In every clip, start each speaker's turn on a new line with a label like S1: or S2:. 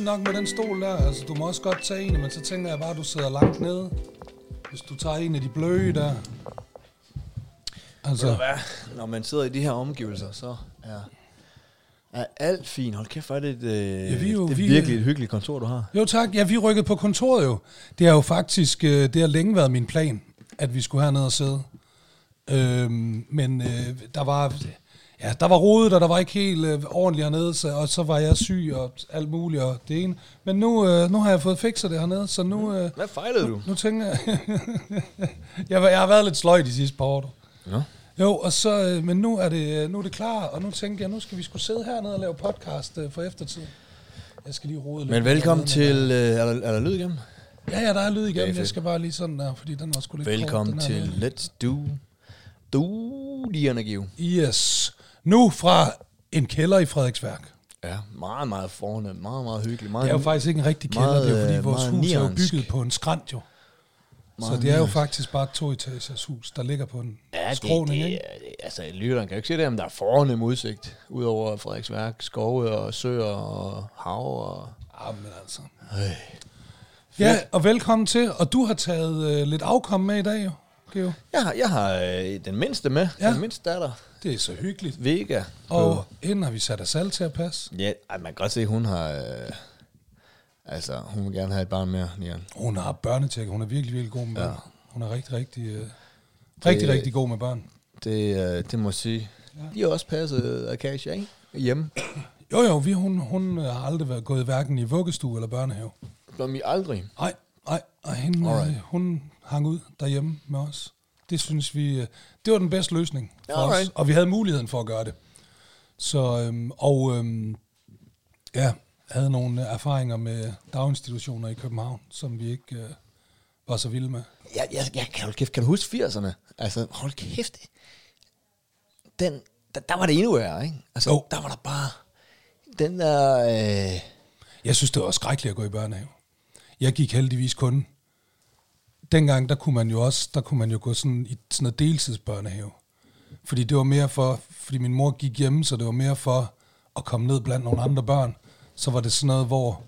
S1: nok med den stol der. Altså, du må også godt tage en, men så tænker jeg bare, at du sidder langt nede. Hvis du tager en af de bløde der.
S2: Ved du
S1: Altså,
S2: hvad? Når man sidder i de her omgivelser, så er, er alt fint. Hold kæft, hvor er det, et, øh, ja,
S1: vi er jo-
S2: det er
S1: vi-
S2: virkelig et hyggeligt kontor, du har.
S1: jo tak. Ja, vi rykkede på kontoret jo. Det har jo faktisk, øh, det har længe været min plan, at vi skulle herned og sidde. Øhm, men øh, der var, ja, der var rodet, og der var ikke helt øh, ordentligt hernede, så, og så var jeg syg og alt muligt og det ene. Men nu, øh, nu har jeg fået fikset det hernede, så nu, øh,
S2: Hvad fejlede du?
S1: nu tænker jeg... jeg, har- jeg har været lidt sløj de sidste par år. du.
S2: Nå.
S1: Jo, og så, øh, men nu er, det, øh, nu er det klar, og nu tænker jeg, nu skal vi skulle sidde hernede og lave podcast øh, for eftertid. Jeg skal lige rode lidt.
S2: Men velkommen
S1: hernede,
S2: til... Øh, er, der, er der lyd igennem?
S1: men- Ja, ja, der er lyd
S2: Det er
S1: igennem. Jeg
S2: fedt.
S1: skal bare lige sådan der, fordi den var sgu lidt
S2: Velkommen
S1: kort,
S2: til
S1: den her.
S2: Let's Do... Do the Energy.
S1: Yes. Nu fra en kælder i Frederiksværk.
S2: Ja, meget, meget fornemt. Meget, meget hyggeligt. Meget,
S1: Det er jo faktisk ikke en rigtig kælder,
S2: Meget,
S1: det er jo fordi
S2: øh,
S1: vores
S2: meget
S1: hus er jo
S2: niansk.
S1: bygget på en skrant jo. Så
S2: Meget
S1: det er jo
S2: niansk.
S1: faktisk bare et toetagers hus, der ligger på en
S2: Ja, det, det,
S1: skråning, ikke?
S2: det, det, altså, lytteren kan jo ikke se det, men der er fornem udsigt. Udover Frederiksværk, skove og søer og hav og...
S1: Jamen altså.
S2: Øj.
S1: Ja, og velkommen til. Og du har taget øh, lidt afkom med i dag jo, Geo.
S2: Jeg har, jeg har øh, den mindste med.
S1: Ja.
S2: Ja. Den mindste datter,
S1: Det er så hyggeligt.
S2: Vega.
S1: Og inden har vi sat os alle til at passe.
S2: Ja, ej, man kan godt se, hun har... Øh, altså, hun vil gerne have et barn mere, Nian.
S1: Hun har børnetjek. Hun er virkelig, virkelig god med børn. Hun er rigtig, rigtig, øh, rigtig, rigtig god med børn.
S2: Det, øh, det må jeg sige. Ja. De har også passet Akasha, ikke? Hjemme.
S1: Jo, jo, vi, hun, hun øh, har aldrig været gået hverken i vuggestue eller børnehave.
S2: Blom I aldrig.
S1: Nej, nej, og hende, øh,
S2: Alright.
S1: hun hang ud derhjemme med os. Det synes vi, øh, det var den bedste løsning for os.
S2: Alright.
S1: Og vi havde muligheden for at gøre det. Så, øhm, og øhm, ja, havde nogle øh, erfaringer med daginstitutioner i København, som vi ikke øh, var så vilde med.
S2: Jeg, jeg, jeg kan, hold kæft, kan du huske 80'erne? Altså, hold kæft. Den, der, der var det endnu værre, ikke? Altså,
S1: Jo.
S2: der var der bare... Den der... Øh,
S1: Jeg synes, det var skrækkeligt at gå i børnehave. Jeg gik heldigvis kun. Dengang, der kunne man jo også, der kunne man jo gå sådan i sådan noget deltidsbørnehave. Fordi det var mere for, fordi min mor gik hjemme, så det var mere for at komme ned blandt nogle andre børn. Så var det sådan noget, hvor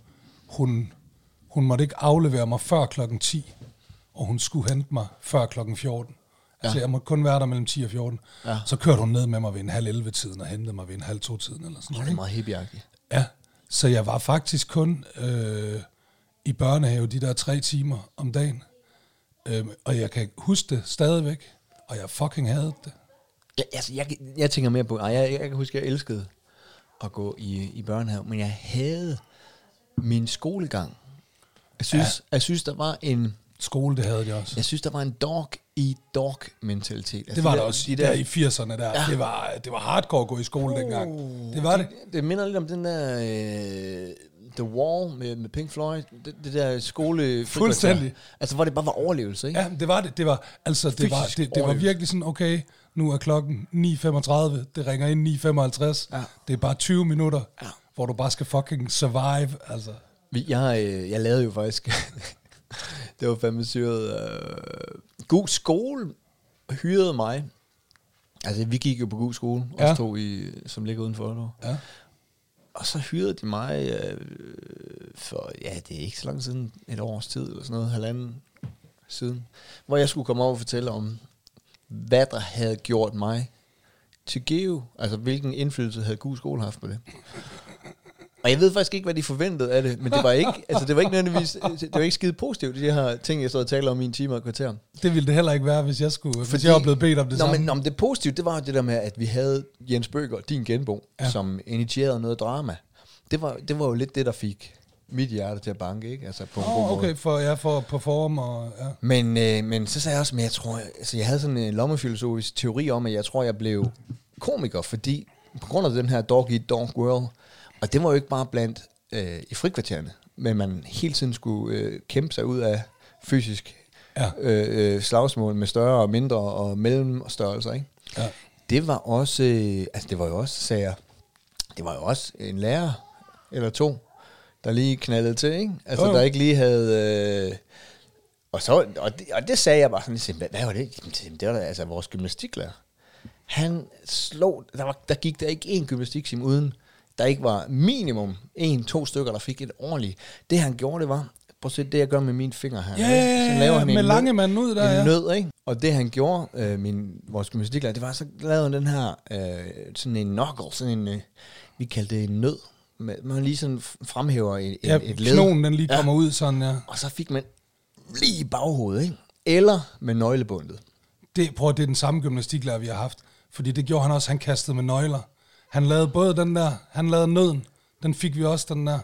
S1: hun, hun måtte ikke aflevere mig før klokken 10, og hun skulle hente mig før klokken 14. Altså, ja. jeg måtte kun være der mellem 10 og 14. Ja. Så kørte hun ned med mig ved en halv 11 tiden og hentede mig ved en halv to tiden eller sådan
S2: det
S1: noget.
S2: er
S1: ikke?
S2: meget hippieagtigt.
S1: Ja, så jeg var faktisk kun øh, i børnehave de der tre timer om dagen. Øhm, og jeg kan huske det stadigvæk, og jeg fucking havde det.
S2: Jeg, altså, jeg, jeg tænker mere på, ej, jeg, jeg kan huske, jeg elskede at gå i, i børnehave, men jeg havde min skolegang. Jeg synes, ja. jeg synes, der var en,
S1: Skole, det havde jeg også.
S2: jeg synes, der var en dog i dog mentalitet. Altså,
S1: det var
S2: de
S1: der
S2: der,
S1: også
S2: De
S1: der,
S2: der,
S1: i 80'erne der. Ja. Det, var, det var hardcore at gå i skole dengang. Det var det.
S2: Uh, det minder lidt om den der øh, The Wall med, med Pink Floyd. Det, det der skole...
S1: Fuldstændig.
S2: Altså, hvor det bare var overlevelse, ikke?
S1: Ja, det var det. Det var, altså, det var,
S2: Fysisk
S1: det, det var
S2: overlevelse.
S1: virkelig sådan, okay, nu er klokken 9.35, det ringer ind 9.55.
S2: Ja.
S1: Det er bare 20 minutter,
S2: Ja.
S1: hvor du bare skal fucking survive. Altså.
S2: Vi- Jeg, øh, jeg lavede jo faktisk, det var fandme syret, øh, god skole hyrede mig. Altså, vi gik jo på god skole, ja.
S1: Ja.
S2: også to, i, øh, som ligger uden for Aalborg.
S1: Ja.
S2: Og så hyrede de mig øh, for, ja, det er ikke så lang siden, et års tid eller sådan noget, halvanden siden, hvor jeg skulle komme over og fortælle om, hvad der havde gjort mig til Geo, altså hvilken indflydelse havde god skole haft på det. Og jeg ved faktisk ikke, hvad de forventede af det, men det var ikke, altså det var ikke nødvendigvis, det var ikke skide positivt, de her ting, jeg stod og talte om i en time og et kvarter.
S1: Det ville det heller ikke være, hvis jeg skulle, Fordi, hvis jeg var blevet bedt om det
S2: nå,
S1: samme.
S2: Men, nå, men det positive, det var jo det der med, at vi havde Jens Bøger, din genbo,
S1: Ja.
S2: ja. som initierede noget drama. Det var, det var jo lidt det, der fik mit hjerte til at banke, ikke? Altså på en
S1: Åh,
S2: god
S1: oh,
S2: måde.
S1: okay, for jeg ja, får perform og... Ja.
S2: Men, øh, men så sagde jeg også, men jeg tror, altså jeg havde sådan en lommefilosofisk teori om, at jeg tror, jeg blev komiker, fordi på grund af den her dog eat dog world, og det var jo ikke bare blandt øh, i frikvartererne, men man hele tiden skulle øh, kæmpe sig ud af fysisk
S1: Ja.
S2: øh, øh, slagsmål med større og mindre og mellemstørrelser, ikke?
S1: Ja.
S2: Det var også, øh, altså det var jo også, sagde jeg, det var jo også en lærer eller to, der lige knaldede til, ikke? Altså
S1: Jo, jo.
S2: der ikke lige havde... Øh, og, så, og, det, og det sagde jeg bare sådan lidt, hvad, hvad var det? Jamen, det- Det var da, altså vores gymnastiklærer. Han slog, der, var, der gik der ikke en gymnastiksim uden, der ikke var minimum en, to stykker, der fik et ordentligt. Det han gjorde, det var, prøv at se det, jeg gør med mine fingre her.
S1: Ja,
S2: ikke?
S1: ja, ja,
S2: så laver han
S1: med
S2: en
S1: lange
S2: nød,
S1: manden ud der,
S2: en
S1: ja.
S2: nød, ikke? Og det han gjorde, øh, min, vores gymnastiklærer, det var, så lavede han den her, øh, sådan en knuckle, sådan en, øh, vi kaldte det en nød. Med, man lige sådan fremhæver et,
S1: Ja,
S2: et, et led.
S1: knogen den lige
S2: Ja.
S1: kommer ud sådan, ja.
S2: Og så fik man lige i baghovedet, ikke? Eller med nøglebundet.
S1: Det, prøv, at- det er den samme gymnastiklærer, vi har haft. Fordi det gjorde han også, han kastede med nøgler. Han lavede både den der, han lavede nøden, den fik vi også, den der.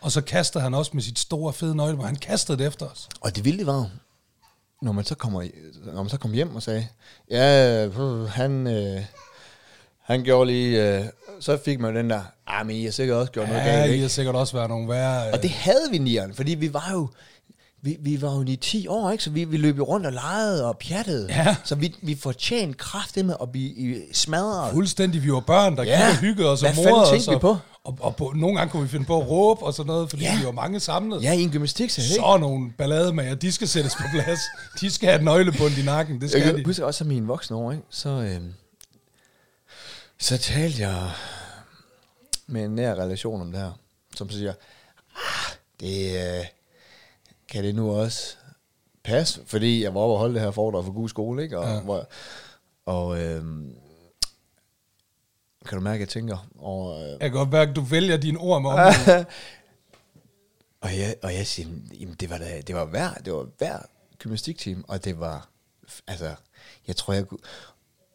S1: Og så kastede han også med sit store, fede nøgle, hvor han kastede det efter os.
S2: Og det vilde var, jo, når man så kommer, når man så kom hjem og sagde, ja, øh, han, øh, han gjorde lige, øh, så fik man jo den der, ah, men I har sikkert også gjort noget
S1: Ja,
S2: galt,
S1: I
S2: ikke?
S1: har sikkert også været nogle værre...
S2: Og det havde vi nieren, fordi vi var jo, vi, vi var jo i 10 år, ikke? Så vi, vi løb jo rundt og legede og pjattede.
S1: Ja.
S2: Så vi, vi fortjente kraft med at blive i- smadret.
S1: Fuldstændig, vi var børn, der
S2: Ja.
S1: ja. gik og hyggede os og
S2: Hvad fanden
S1: morede os.
S2: tænkte vi
S1: og-
S2: på?
S1: Og, og på, nogle gange kunne vi finde på at råbe og sådan noget, fordi
S2: Ja.
S1: vi var mange samlet.
S2: Ja, i en gymnastiksal, ikke?
S1: Så nogle ballademager, de skal sættes på plads. De skal have et nøglebund i nakken, det
S2: Jeg
S1: skal
S2: kan
S1: de.
S2: huske også, at mine voksne år, ikke? så, øh, så talte jeg med en nær relation om det her, som siger, ah, det, øh, kan det nu også passe? Fordi jeg var oppe og holde det her foredrag for god skole, ikke? Og,
S1: Ja.
S2: ja. hvor, og øh, kan du mærke, at jeg tænker over, øh,
S1: Jeg kan godt mærke, at du vælger dine ord med
S2: Ah.
S1: området.
S2: og jeg, og jeg siger, jamen, det var, da, det var hver, det var hver gymnastikteam, og det var, f- altså, jeg tror, jeg kunne,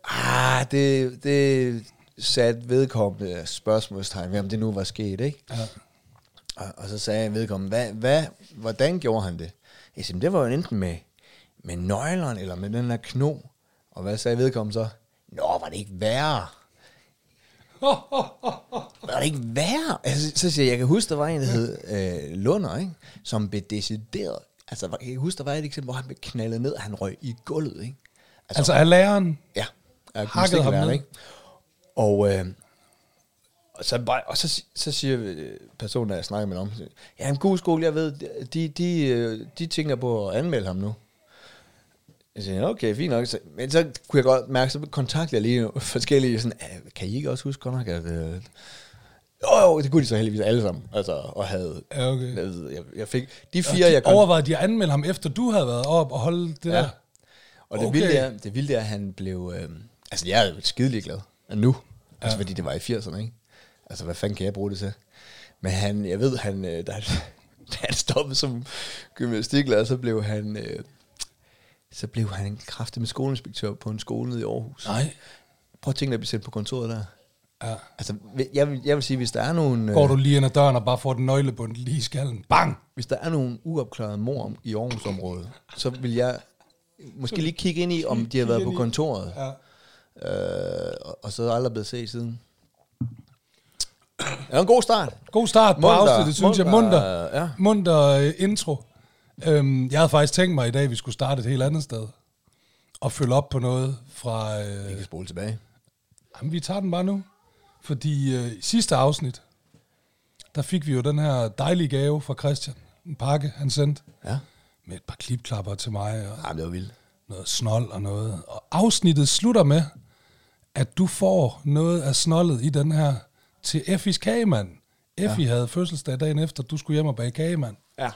S2: ah, det, det satte vedkommende spørgsmålstegn ved, om det nu var sket, ikke?
S1: Ja.
S2: Og, og så sagde jeg vedkommende, hvad, hvad, hvordan gjorde han det? Jeg siger, "Men det var jo enten med, med nøgleren, eller med den her kno. Og hvad sagde vedkommende så? Nå, var det ikke værre? var det ikke værre? Altså, så siger jeg, jeg kan huske, der var en, der hed øh, Lunder, ikke? som blev decideret. Altså, jeg kan huske, der var et eksempel, hvor han blev knaldet ned, og han røg i gulvet, ikke?
S1: Altså af læreren.
S2: Ja. Jeg kunne
S1: Hakket
S2: ikke
S1: ham
S2: være der,
S1: ned.
S2: ikke? Og, øh, og, så, bare, og så, så siger øh, personen, der jeg snakker med om, siger, ja, en god skole, jeg ved, de, de, øh, de tænker på at anmelde ham nu. Jeg siger, okay, fint nok. Så, men så kunne jeg godt mærke, så kontaktede jeg lige nogle forskellige, sådan, "Ah, kan I ikke også huske godt nok, at... Øh, jo, jo, det kunne de så heldigvis alle sammen, altså, og havde...
S1: Ja, okay.
S2: Jeg, ved, jeg, jeg fik, de
S1: Og
S2: fire,
S1: de
S2: jeg kon-
S1: overvejede de at anmelde ham, efter du havde været op og holde det ja. der.
S2: Ja. Og
S1: Okay.
S2: det, okay. vilde er, det vilde er, at han blev... Øh, altså, jeg er jo skidelig glad af nu. Altså, fordi det var i 80'erne, ikke? Altså, hvad fanden kan jeg bruge det til? Men han, jeg ved, han, øh, da, han, da han stoppede som gymnastiklærer, så blev han... Øh, så blev han kraftig med skoleinspektør på en skole nede i Aarhus.
S1: Nej.
S2: Prøv at tænke dig at blive sendt på kontoret der.
S1: Ja.
S2: Altså, jeg, vil- jeg vil sige, hvis der er nogle...
S1: Går
S2: øh,
S1: du lige ind ad døren og bare får den nøglebund lige i skallen. Bang!
S2: hvis der er nogle uopklarede mor om- i Aarhusområdet, så vil jeg måske lige kigge ind i, om de har været på kontoret.
S1: Ja.
S2: Øh, og- og så er aldrig blevet set siden. Det var en god start.
S1: God start på
S2: Munter,
S1: afsnittet, det synes
S2: munter,
S1: jeg. Munter,
S2: ja.
S1: munter øh, intro. Øhm, jeg havde faktisk tænkt mig i dag, at vi skulle starte et helt andet sted. Og følge op på noget fra...
S2: Vi
S1: Øh,
S2: kan spole tilbage.
S1: jamen, vi tager den bare nu. Fordi øh, i sidste afsnit, der fik vi jo den her dejlige gave fra Christian. En pakke, han sendte.
S2: Ja.
S1: Med et par klipklapper til mig. Og
S2: Jamen, det var vildt.
S1: noget snold og noget. Og afsnittet slutter med, at du får noget af snoldet i den her til Effis kagemand. Effi ja. havde fødselsdag dagen efter, du skulle hjem og bage kagemand.
S2: Ja.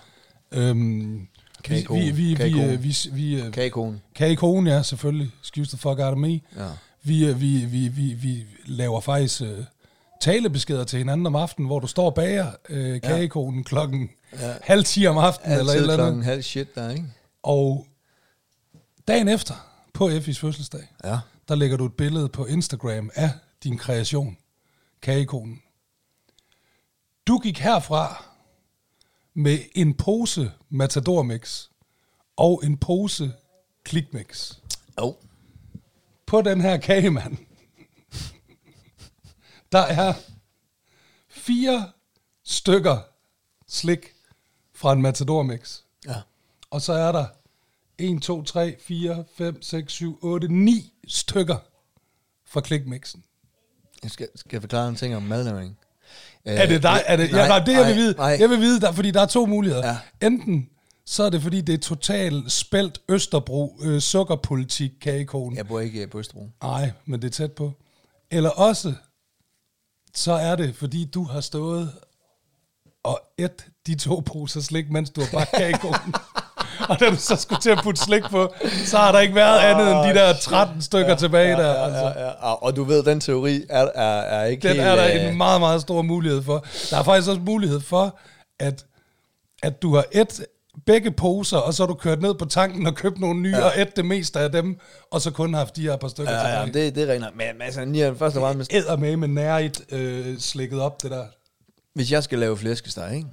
S1: Øhm, vi,
S2: Kagekone.
S1: vi, vi, vi,
S2: Kagekone.
S1: øh, vi, vi, øh,
S2: Kagekonen.
S1: kagekone, ja, selvfølgelig. Skifte the fuck out of me.
S2: Ja.
S1: Vi, øh, vi, vi, vi, vi laver faktisk øh, talebeskeder til hinanden om aftenen, hvor du står og bager øh, kagekonen klokken ja. halv 10 om aftenen, eller et
S2: Altid
S1: eller andet.
S2: klokken halv shit der, ikke?
S1: Og dagen efter, på Effis fødselsdag,
S2: Ja.
S1: der lægger du et billede på Instagram af din kreation, kagekonen. Du gik herfra med en pose Matador Mix og en pose Click Mix
S2: Oh.
S1: på den her kagemand. Der er fire stykker slik fra en Matador Mix.
S2: Ja.
S1: Og så er der 1, 2, 3, 4, 5, 6, 7, 8, 9 stykker fra klikmixen.
S2: Jeg skal, skal jeg forklare en ting om madlavning? Øh,
S1: Er det dig? Er det, nej, ja, nej, det jeg vil vide.
S2: Nej,
S1: Jeg vil vide, der, fordi der er to muligheder.
S2: Ja.
S1: Ja. Enten så er det, fordi det er totalt spældt Østerbro øh, sukkerpolitik, kagekonen.
S2: jeg bor ikke øh, på Østerbro.
S1: Nej, men det er tæt på. Eller også, så er det, fordi du har stået og et de to poser slik, mens du har bare kagekuglen. og da du så skulle til at putte slik på, så har der ikke været andet end de der 13 stykker tilbage der. Altså.
S2: Ja, ja, og, og du ved, den teori er, er, er ikke
S1: Den
S2: helt...
S1: er der
S2: øh,
S1: en meget, meget stor mulighed for. Der er faktisk også mulighed for, at, at du har et begge poser, og så har du kørt ned på tanken og købt nogle nye, ja. og et det meste af dem, og så kun haft de her par stykker
S2: Ja, ja,
S1: tilbage.
S2: det, det regner. Men altså, 99 var med
S1: Eddermame med nærigt øh, slikket op, det der.
S2: Hvis jeg skal lave flæskesteg, ikke?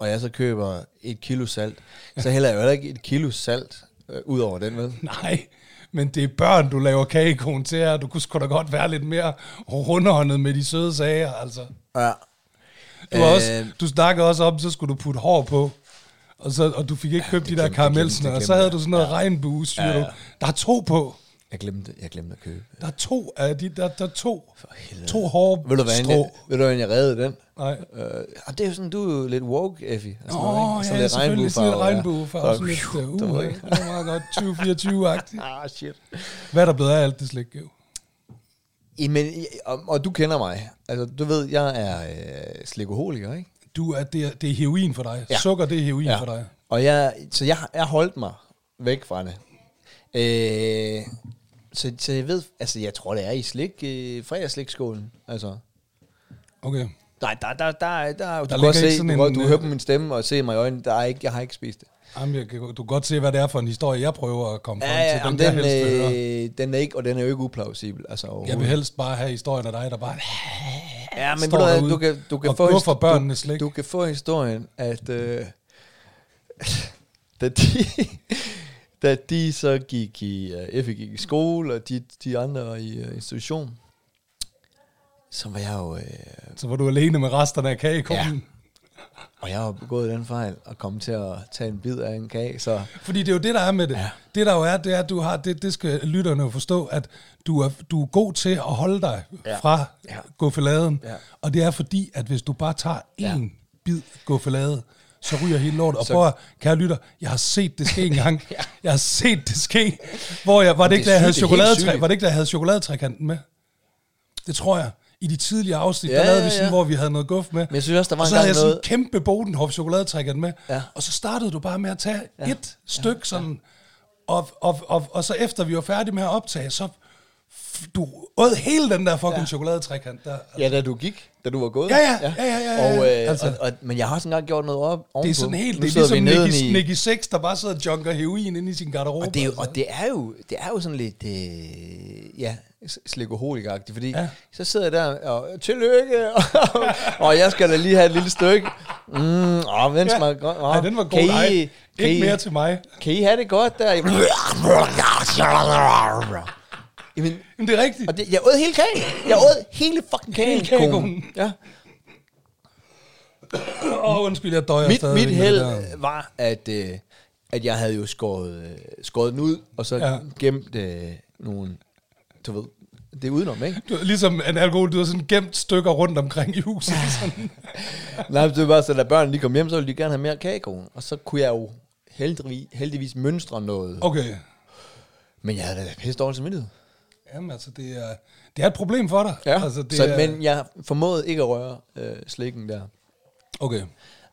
S2: og jeg så køber et kilo salt, så hælder jeg jo heller ikke et kilo salt øh, ud over den, vel?
S1: Nej, men det er børn, du laver kagekone til her. Du kunne sgu da godt være lidt mere rundhåndet med de søde sager, altså.
S2: Ja.
S1: Du, øh, også,
S2: Øh,
S1: du snakkede også om, så skulle du putte hår på. Og, så, og du fik ikke købt de
S2: det
S1: der
S2: glemte- det glemte-
S1: karamelsner,
S2: det
S1: og så
S2: glemte
S1: havde
S2: jeg.
S1: du sådan noget ja. regnbuesyre. Ja, ja. Der er to på.
S2: Jeg glemte, jeg glemte at købe.
S1: Der er to af de, der, der er to,
S2: helvede.
S1: to hårde
S2: Ved du, hvad,
S1: strå.
S2: jeg, ved du, hvordan jeg reddede den?
S1: Nej.
S2: Øh, og det er jo sådan, du er jo lidt woke, Effie. og sådan
S1: Åh,
S2: noget, ikke?
S1: oh,
S2: Og
S1: ja, selvfølgelig sådan lidt regnbuefarve.
S2: ja.
S1: Sådan lidt,
S2: Så-
S1: uh,
S2: der
S1: uh,
S2: var
S1: ikke?
S2: ikke-
S1: det var meget godt, 2024-agtigt.
S2: Ah, shit.
S1: Hvad er der blevet af alt det slik, jo?
S2: Jamen, I- og, og du kender mig. Altså, du ved, jeg er øh, slikoholiker, ikke?
S1: Du er, det, er, det er heroin for dig. Ja.
S2: Ja.
S1: Sukker, det er heroin ja. for dig.
S2: Og jeg, så jeg, jeg holdt mig væk fra det. Øh, så, så jeg ved, altså jeg tror, det er i slik, øh, fredagsslikskålen. Altså,
S1: Okay.
S2: nej, der, der, der, der, der, du
S1: ligger
S2: kan godt
S1: ikke
S2: se,
S1: sådan
S2: du,
S1: en,
S2: kan godt- du
S1: øh,
S2: hører på min stemme og se mig i øjnene, der er ikke, jeg har ikke spist det.
S1: Jamen, jeg kan, du kan godt se, hvad det er for en historie, jeg prøver at komme frem
S2: Ja, ja,
S1: til. Den,
S2: den,
S1: den, jeg,
S2: den,
S1: helst vil høre.
S2: øh, den er ikke, og den er jo ikke uplausibel. Altså,
S1: jeg
S2: overhovedet.
S1: vil helst bare have historien af dig, der bare...
S2: ja, men
S1: står
S2: ved du, hvad,
S1: derude
S2: du kan, du kan
S1: og
S2: få, his-
S1: guffer børnene
S2: du,
S1: slik.
S2: du kan få historien, at øh, da, de, da de så gik i, øh, Effie gik i skole, og de, de andre var i øh, institution, så var jeg jo, øh,
S1: Så var du alene med resterne af kagekuglen. Ja.
S2: og jeg har begået den fejl, og kom til at tage en bid af en kage, så
S1: Fordi det er jo det, der er med det. Ja.
S2: Ja.
S1: Det, der jo er, det er, at du har, det, det skal lytterne jo forstå, at du er, du er god til at holde dig ja.
S2: Ja.
S1: fra ja.
S2: Ja.
S1: guffeladen. Ja.
S2: Ja.
S1: Og det er fordi, at hvis du bare tager én
S2: Ja.
S1: bid guffelade, så ryger hele lortet. Og
S2: Så-
S1: prøv at, kære lytter, jeg har set det ske engang. ja. Jeg har set det ske. Hvor jeg, var det, det ikke, da jeg
S2: sygt,
S1: havde
S2: det er helt
S1: chokoladetræ,
S2: sygt.
S1: var det ikke, da jeg havde chokoladetrækanten med? Det tror jeg. I de tidlige afsnit, ja,
S2: Ja,
S1: der lavede
S2: ja,
S1: vi sådan,
S2: ja.
S1: hvor vi havde noget guf med.
S2: Men jeg synes også, der var
S1: og så
S2: engang
S1: havde jeg sådan en
S2: noget-
S1: kæmpe Bodenhof chokoladetrækkerne med, ja.
S2: Ja.
S1: og så startede du bare med at tage ja. et stykke sådan, og, og, og, og så efter vi var færdige med at optage, så f- du åd hele den der fucking ja. chokoladetrækant der.
S2: ja, da du gik, da du var gået.
S1: Ja, ja, ja, ja, ja, ja,
S2: Og, øh,
S1: altså.
S2: altså. og, og, men jeg har også engang gjort noget op ovenpå.
S1: Det er sådan helt,
S2: Nu
S1: det er
S2: sidder vi
S1: ligesom
S2: neden
S1: Nicky,
S2: i-
S1: Nicky 6, der bare sidder og junker heroin inde i sin garderobe.
S2: Og det, er jo,
S1: altså.
S2: og det er jo, det er jo sådan lidt, øh, ja, s- slikoholikagtigt, fordi
S1: Ja.
S2: ja. så sidder jeg der og, tillykke, og, og jeg skal da lige have et lille stykke. Mm, åh, den
S1: Ja.
S2: smager godt. Åh,
S1: Ej, den var god.
S2: kan I-
S1: Ej,
S2: kan
S1: ikke
S2: I-
S1: mere til mig.
S2: Kan I have det godt der? Jamen,
S1: Men det er rigtigt.
S2: og det, jeg åd hele kagen. Jeg åd hele fucking kagen.
S1: Hele kagen.
S2: konen. Ja.
S1: Åh, oh, undskyld, jeg døjer
S2: Mit,
S1: stadig.
S2: mit held var, at, øh, at jeg havde jo skåret, øh, skåret den ud, og så
S1: Ja.
S2: ja. gemt øh, nogle, du ved, det er udenom, ikke?
S1: Du, ligesom en alkohol, du har sådan gemt stykker rundt omkring i huset. Sådan.
S2: Nej, det var bare så, da børnene lige kom hjem, så ville de gerne have mere kagekone, og så kunne jeg jo heldigvis, heldigvis mønstre noget. Oh.
S1: Okay.
S2: Men jeg havde da pisse dårlig samvittighed.
S1: Jamen altså, det er, det er et problem for dig.
S2: Ja,
S1: altså,
S2: altså,
S1: det
S2: så,
S1: er,
S2: men jeg formåede ikke at røre øh, slikken der.
S1: Okay.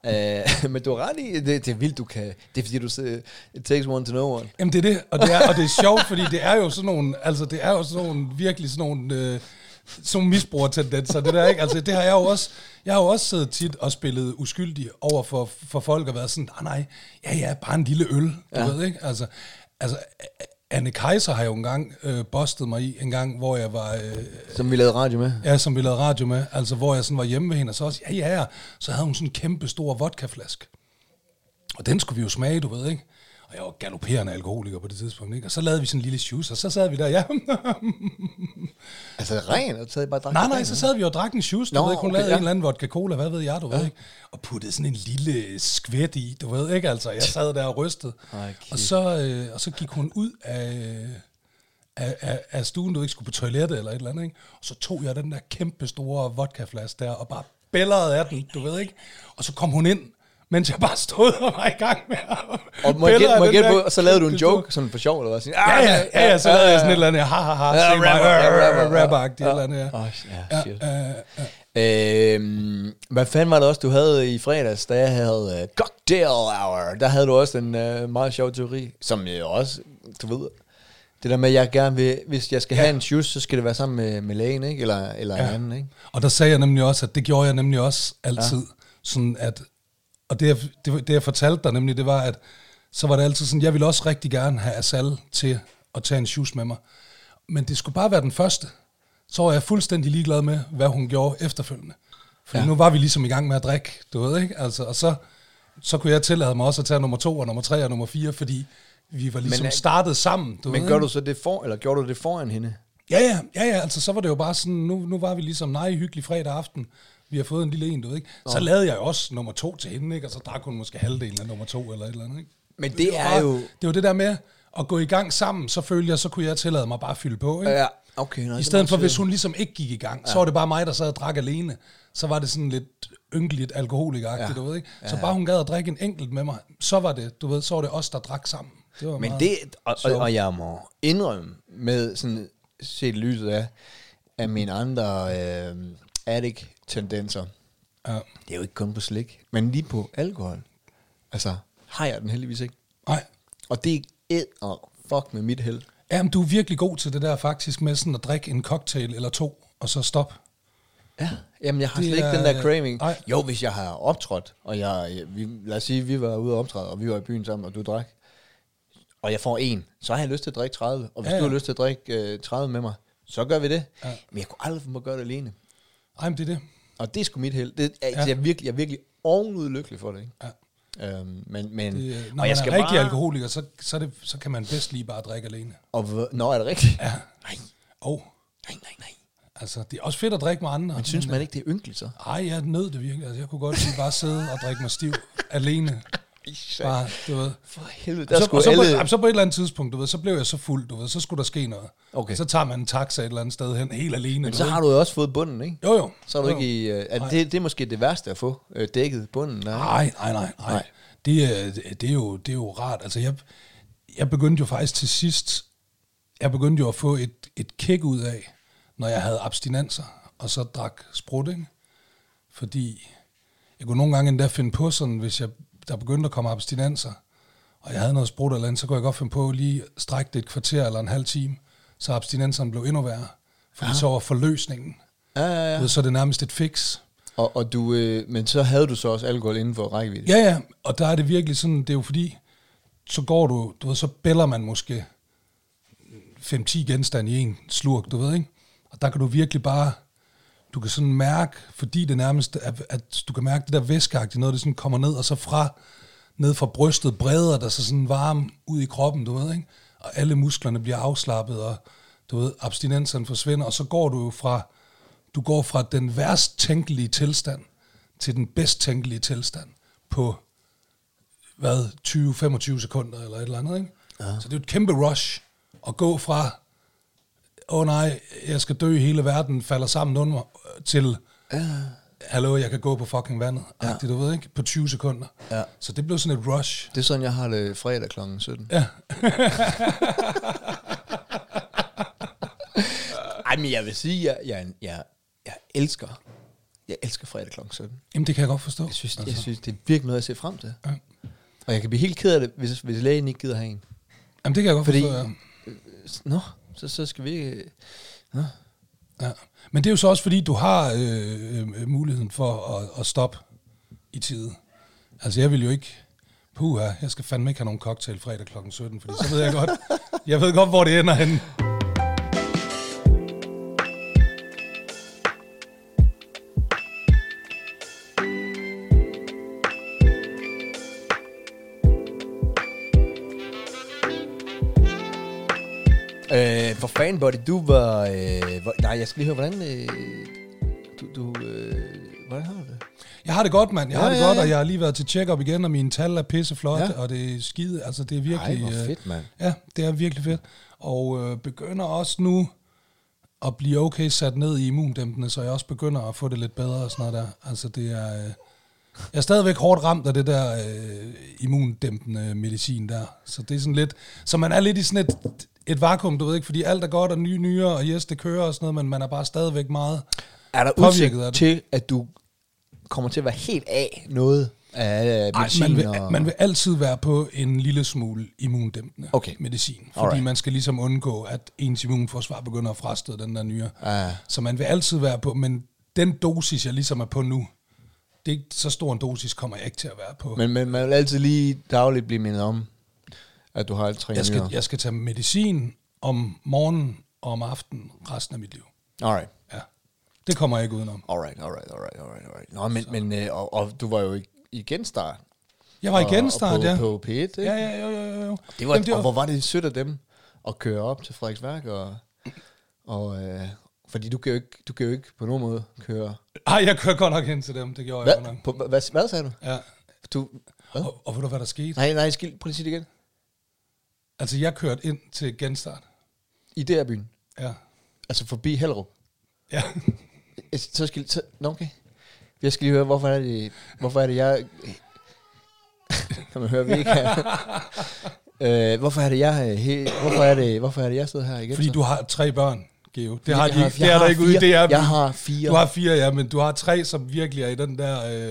S2: Øh, men du har ret i, det, det er vildt, du kan. Det er fordi, du siger, it takes one to know one.
S1: Jamen det er det, og det er, og det er sjovt, fordi det er jo sådan nogle, altså det er jo sådan nogle, virkelig sådan nogle, øh, sådan nogle misbrugertendenser, det der, ikke? Altså det har jeg jo også, jeg har jo også siddet tit og spillet uskyldig over for, for folk og været sådan, "Ah, nej, nej, ja, ja, bare en lille øl, du ja. ved, ikke? Altså, altså, Anne Kaiser har jo engang øh, bustet mig i, en gang, hvor jeg var, øh,
S2: Som vi lavede radio med.
S1: Ja, som vi lavede radio med, altså hvor jeg sådan var hjemme ved hende, og så også, ja, ja, ja, så havde hun sådan en kæmpe stor vodkaflaske. Og den skulle vi jo smage, du ved, ikke? Og jeg var galopperende alkoholiker på det tidspunkt, ikke? Og så lavede vi sådan en lille shoes, og så sad vi der, ja,
S2: Altså ren, og så havde jeg bare drak
S1: nej,
S2: det
S1: nej,
S2: ren.
S1: så sad vi og drak en shoes, du
S2: Nå,
S1: ved ikke? Hun
S2: okay,
S1: lavede
S2: ja.
S1: en eller anden vodka cola, hvad ved jeg, du ved, ikke? Og puttede sådan en lille skvæt i, du ved, ikke? Altså, jeg sad der og rystede.
S2: Ej,
S1: Og så, øh, og så gik hun ud af, af, af, af stuen, du ikke skulle på toilettet eller et eller andet, ikke? Og så tog jeg den der kæmpe store vodkaflaske der, og bare bællerede af den, du ved ikke? Og så kom hun ind, mens jeg bare stod og var i gang med at
S2: Og må jeg
S1: bælre
S2: gætte- må
S1: den
S2: jeg gætte
S1: der
S2: på, og så lavede du en
S1: kæmpe store-
S2: joke, sådan for sjov, eller hvad? Sådan, "Ah,
S1: Ja, ja, ja, ja, så lavede jeg sådan et eller andet, ha, ha, ha, se mig,
S2: rapper,
S1: øh,
S2: ja, rapper,
S1: rapper,
S2: ja.
S1: agtigt eller andet, ja.
S2: Åh, ja, shit.
S1: Øh, øh,
S2: Øhm, hvad fanden var det også, du havde i fredags, da jeg havde uh, cocktail hour? Der havde du også en uh, meget sjov teori, som jeg også, du ved, det der med, at jeg gerne vil, hvis jeg skal ja. have en juice, så skal det være sammen med, med lægen, ikke? Eller, eller ja. en anden, ikke?
S1: Og der sagde jeg nemlig også, at det gjorde jeg nemlig også altid. Ja. Sådan at, og det jeg, det, det, jeg fortalte dig nemlig, det var, at så var det altid sådan, jeg ville også rigtig gerne have Asal til at tage en juice med mig. Men det skulle bare være den første. Så var jeg fuldstændig ligeglad med, hvad hun gjorde efterfølgende. For ja. nu var vi ligesom i gang med at drikke, du ved, ikke? Altså, og så, så kunne jeg tillade mig også at tage nummer to og nummer tre og nummer fire, fordi vi var ligesom
S2: er-
S1: men, startet sammen. Du
S2: Men
S1: ved,
S2: gør
S1: ikke?
S2: du så det for, eller gjorde du det foran hende?
S1: Ja, ja, ja, ja, altså så var det jo bare sådan, nu, nu var vi ligesom, nej, hyggelig fredag aften, vi har fået en lille en, du ved ikke. Så lavede jeg jo også nummer to til hende, ikke? og så drak hun måske halvdelen af nummer to, eller et eller andet, ikke?
S2: Men det
S1: var
S2: er
S1: bare,
S2: jo-
S1: Det var det der med at gå i gang sammen, så følte jeg, så kunne jeg tillade mig bare at fylde på, ikke?
S2: Ja, okay. Nej,
S1: I stedet for, hvis hun ligesom ikke gik i gang, ja. så var det bare mig, der sad og drak alene. Så var det sådan lidt ynkeligt alkoholikagtigt, ja. du ved ikke? Så bare hun gad at drikke en enkelt med mig, så var det, du ved, så var det os, der drak sammen. Det var
S2: Men
S1: meget-
S2: det, og, og,
S1: sjovt.
S2: og jeg må indrømme med sådan set i lyset af, af mine andre øh, addict-tendenser.
S1: Ja.
S2: Det er jo ikke kun på slik, men lige på alkohol. Altså, har jeg den heldigvis ikke.
S1: Nej,
S2: Og det er et og fuck med mit held.
S1: Jamen, du er virkelig god til det der faktisk med sådan at drikke en cocktail eller to, og så stop.
S2: Ja, jamen jeg har
S1: Det
S2: slet ikke
S1: er-
S2: den der craving.
S1: Nej.
S2: Jo, hvis jeg har optrådt, og jeg, vi, lad os sige, vi var ude og optræde, og vi var i byen sammen, og du drak, og jeg får en, så har jeg lyst til at drikke 30, og hvis
S1: Ja,
S2: ja, ja. du
S1: ja.
S2: har lyst til at drikke øh, 30 med mig, så gør vi det. Ja. Men jeg kunne aldrig få mig at gøre det alene.
S1: Ej, men det er det.
S2: Og det er sgu mit held. Det, er,
S1: Ja.
S2: ja. jeg, er virkelig, jeg er virkelig ovenud lykkelig for det, ikke?
S1: Ja.
S2: Øhm, men, men,
S1: det øh,
S2: og
S1: når man er rigtig bare... alkoholiker, så, så, er det, så kan man bedst lige bare drikke alene.
S2: Og, hvor- nå, er det rigtigt?
S1: Ja.
S2: Nej,
S1: Og
S2: nej, nej, nej.
S1: altså, det er også fedt at drikke med andre.
S2: Men synes man ikke, det er ynkeligt så?
S1: Ej, jeg nød det virkelig. Altså, jeg kunne godt lige bare sidde og drikke mig stiv alene. Bare, du ved.
S2: For helvede,
S1: Og
S2: der
S1: så, og
S2: skulle
S1: så, på,
S2: alle...
S1: jamen, så på et eller andet tidspunkt, du ved, så blev jeg så fuld, du ved, så skulle der ske noget.
S2: Okay.
S1: Så tager man en taxa et eller andet sted hen, helt alene.
S2: Men
S1: du
S2: så
S1: ved.
S2: har du jo også fået bunden, ikke?
S1: Jo, jo.
S2: Så er du
S1: Jo, jo.
S2: ikke i... Øh, at det, det er måske det værste at få øh, dækket bunden. Nej.
S1: Nej, nej, nej, nej.
S2: Nej.
S1: Det, er- det, er jo, det er jo rart. Altså, jeg, jeg begyndte jo faktisk til sidst, jeg begyndte jo at få et, et kick ud af, når jeg havde abstinenser, og så drak sprut, ikke? Fordi jeg kunne nogle gange endda finde på sådan, hvis jeg, der begyndte at komme abstinenser, og jeg havde noget sprut eller andet, så kunne jeg godt finde på lige at strække det et kvarter eller en halv time, så abstinenserne blev endnu værre. Fordi så var forløsningen.
S2: Ja, ja,
S1: Ja.
S2: ja.
S1: Ved, så er det nærmest et fix.
S2: Og, og du, øh, men så havde du så også alkohol inden for rækkevidde.
S1: Ja, ja, og der er det virkelig sådan, det er jo fordi, så går du, du ved, så bæller man måske 5-10 genstande i en slurk, du ved, ikke? Og der kan du virkelig bare, du kan sådan mærke, fordi det nærmest, er, at du kan mærke det der væskeagtige noget, det sådan kommer ned, og så fra, ned fra brystet breder der så sådan varm ud i kroppen, du ved, ikke? Og alle musklerne bliver afslappet, og du ved, abstinenserne forsvinder, og så går du jo fra, du går fra den værst tænkelige tilstand til den bedst tænkelige tilstand på, hvad, 20-25 sekunder eller et eller andet, ikke? Ja. Så det er jo et kæmpe rush at gå fra, åh oh, nej, jeg skal dø, hele verden falder sammen under mig, øh, til,
S2: Ja.
S1: hallo, jeg kan gå på fucking vandet, ja. agtigt, du ved ikke, på 20 sekunder.
S2: Ja.
S1: Så det blev sådan et rush.
S2: Det er sådan, jeg har det fredag kl. 17.
S1: Ja.
S2: Ej, men jeg vil sige, jeg, jeg, jeg, jeg elsker jeg elsker fredag kl. 17.
S1: Jamen, det kan jeg godt forstå.
S2: Jeg synes, jeg synes, det er virkelig noget, jeg ser frem til.
S1: Altså. Ja.
S2: Og jeg kan blive helt ked af det, hvis, hvis lægen ikke gider have en.
S1: Jamen, det kan jeg godt
S2: Fordi-
S1: forstå, ja.
S2: Nå, så, så skal vi øh, ikke...
S1: ja. Men det er jo så også, fordi du har øh, øh, muligheden for at, at stoppe i tide. Altså, jeg vil jo ikke... Puha, jeg skal fandme ikke have nogen cocktail fredag kl. 17, fordi så ved jeg godt, jeg ved godt, hvor det ender henne.
S2: Øh, for fanden, Buddy, du var... Øh, hvor, nej, jeg skal lige høre, hvordan... Øh, du, du, øh, hvordan har du det?
S1: Jeg har det godt, mand. Jeg har
S2: Ja,
S1: det
S2: ja,
S1: godt,
S2: ja.
S1: og jeg har lige været til check-up igen, og mine tal er pisseflotte,
S2: Ja.
S1: og det er skide. Altså, det er virkelig...
S2: Ej, hvor
S1: øh,
S2: fedt, mand.
S1: Ja, det er virkelig fedt. Og øh, begynder også nu at blive okay sat ned i immundæmpende, så jeg også begynder at få det lidt bedre og sådan noget der. Altså det er... Øh, jeg er stadigvæk hårdt ramt af det der øh, immundæmpende medicin der. Så det er sådan lidt... Så man er lidt i sådan et, et vakuum, du ved ikke, fordi alt er godt og nye nyere, og yes, det kører og sådan noget, men man er bare stadigvæk meget
S2: Er der
S1: påvirket af
S2: udsigt
S1: det.
S2: til, at du kommer til at være helt af noget af
S1: Ej,
S2: medicin?
S1: man, vil,
S2: og...
S1: man vil altid være på en lille smule immundæmpende
S2: Okay.
S1: medicin, fordi
S2: Alright.
S1: man skal ligesom undgå, at ens immunforsvar begynder at frastøde den der nyre.
S2: Ah,
S1: Så man vil altid være på, men den dosis, jeg ligesom er på nu, det er ikke så stor en dosis, kommer jeg ikke til at være på.
S2: men, men man vil altid lige dagligt blive mindet om, at du har alt tre
S1: jeg, skal,
S2: nyrer.
S1: jeg skal tage medicin om morgenen og om aftenen resten af mit liv.
S2: Alright.
S1: Ja. Det kommer jeg ikke udenom.
S2: Alright, alright, alright, alright, alright. Nå, men, men øh, og, og, du var jo i, i genstart.
S1: Jeg var i
S2: Og- og
S1: genstart,
S2: på,
S1: ja.
S2: På P1, ikke?
S1: Ja, ja, jo, jo, jo, jo.
S2: Det var,
S1: Jamen,
S2: Jamen, det var, og hvor var det sødt af dem at køre op til Frederiksværk og... og øh, fordi du kan, jo ikke, du kan jo ikke på nogen måde køre...
S1: Ej, jeg kørte godt nok hen til dem, det gjorde jeg godt
S2: Hvad,
S1: nok.
S2: på, hvad, hvad sagde du?
S1: Ja.
S2: Du... Hvad?
S1: Og, og ved du, hvad der skete?
S2: Nej, nej, skil, prøv lige at sige det igen.
S1: Altså, jeg kørte ind til genstart.
S2: I der byen.
S1: Ja.
S2: Altså forbi Hellerup.
S1: Ja.
S2: Jeg- Så skal... Så, nå, okay. Jeg skal lige høre, hvorfor er det, hvorfor er det jeg... kan man høre, vi ikke er... øh, hvorfor er det jeg... øh, He, hvorfor, er det, hvorfor er det jeg sidder her igen?
S1: Fordi
S2: så?
S1: du har tre børn, Geo. Det har
S2: Jeg
S1: de ikke. Det er der
S2: jeg har
S1: ikke ude i
S2: fire.
S1: det er.
S2: Jeg har fire.
S1: Du har fire, ja, men du har tre, som virkelig er i den der...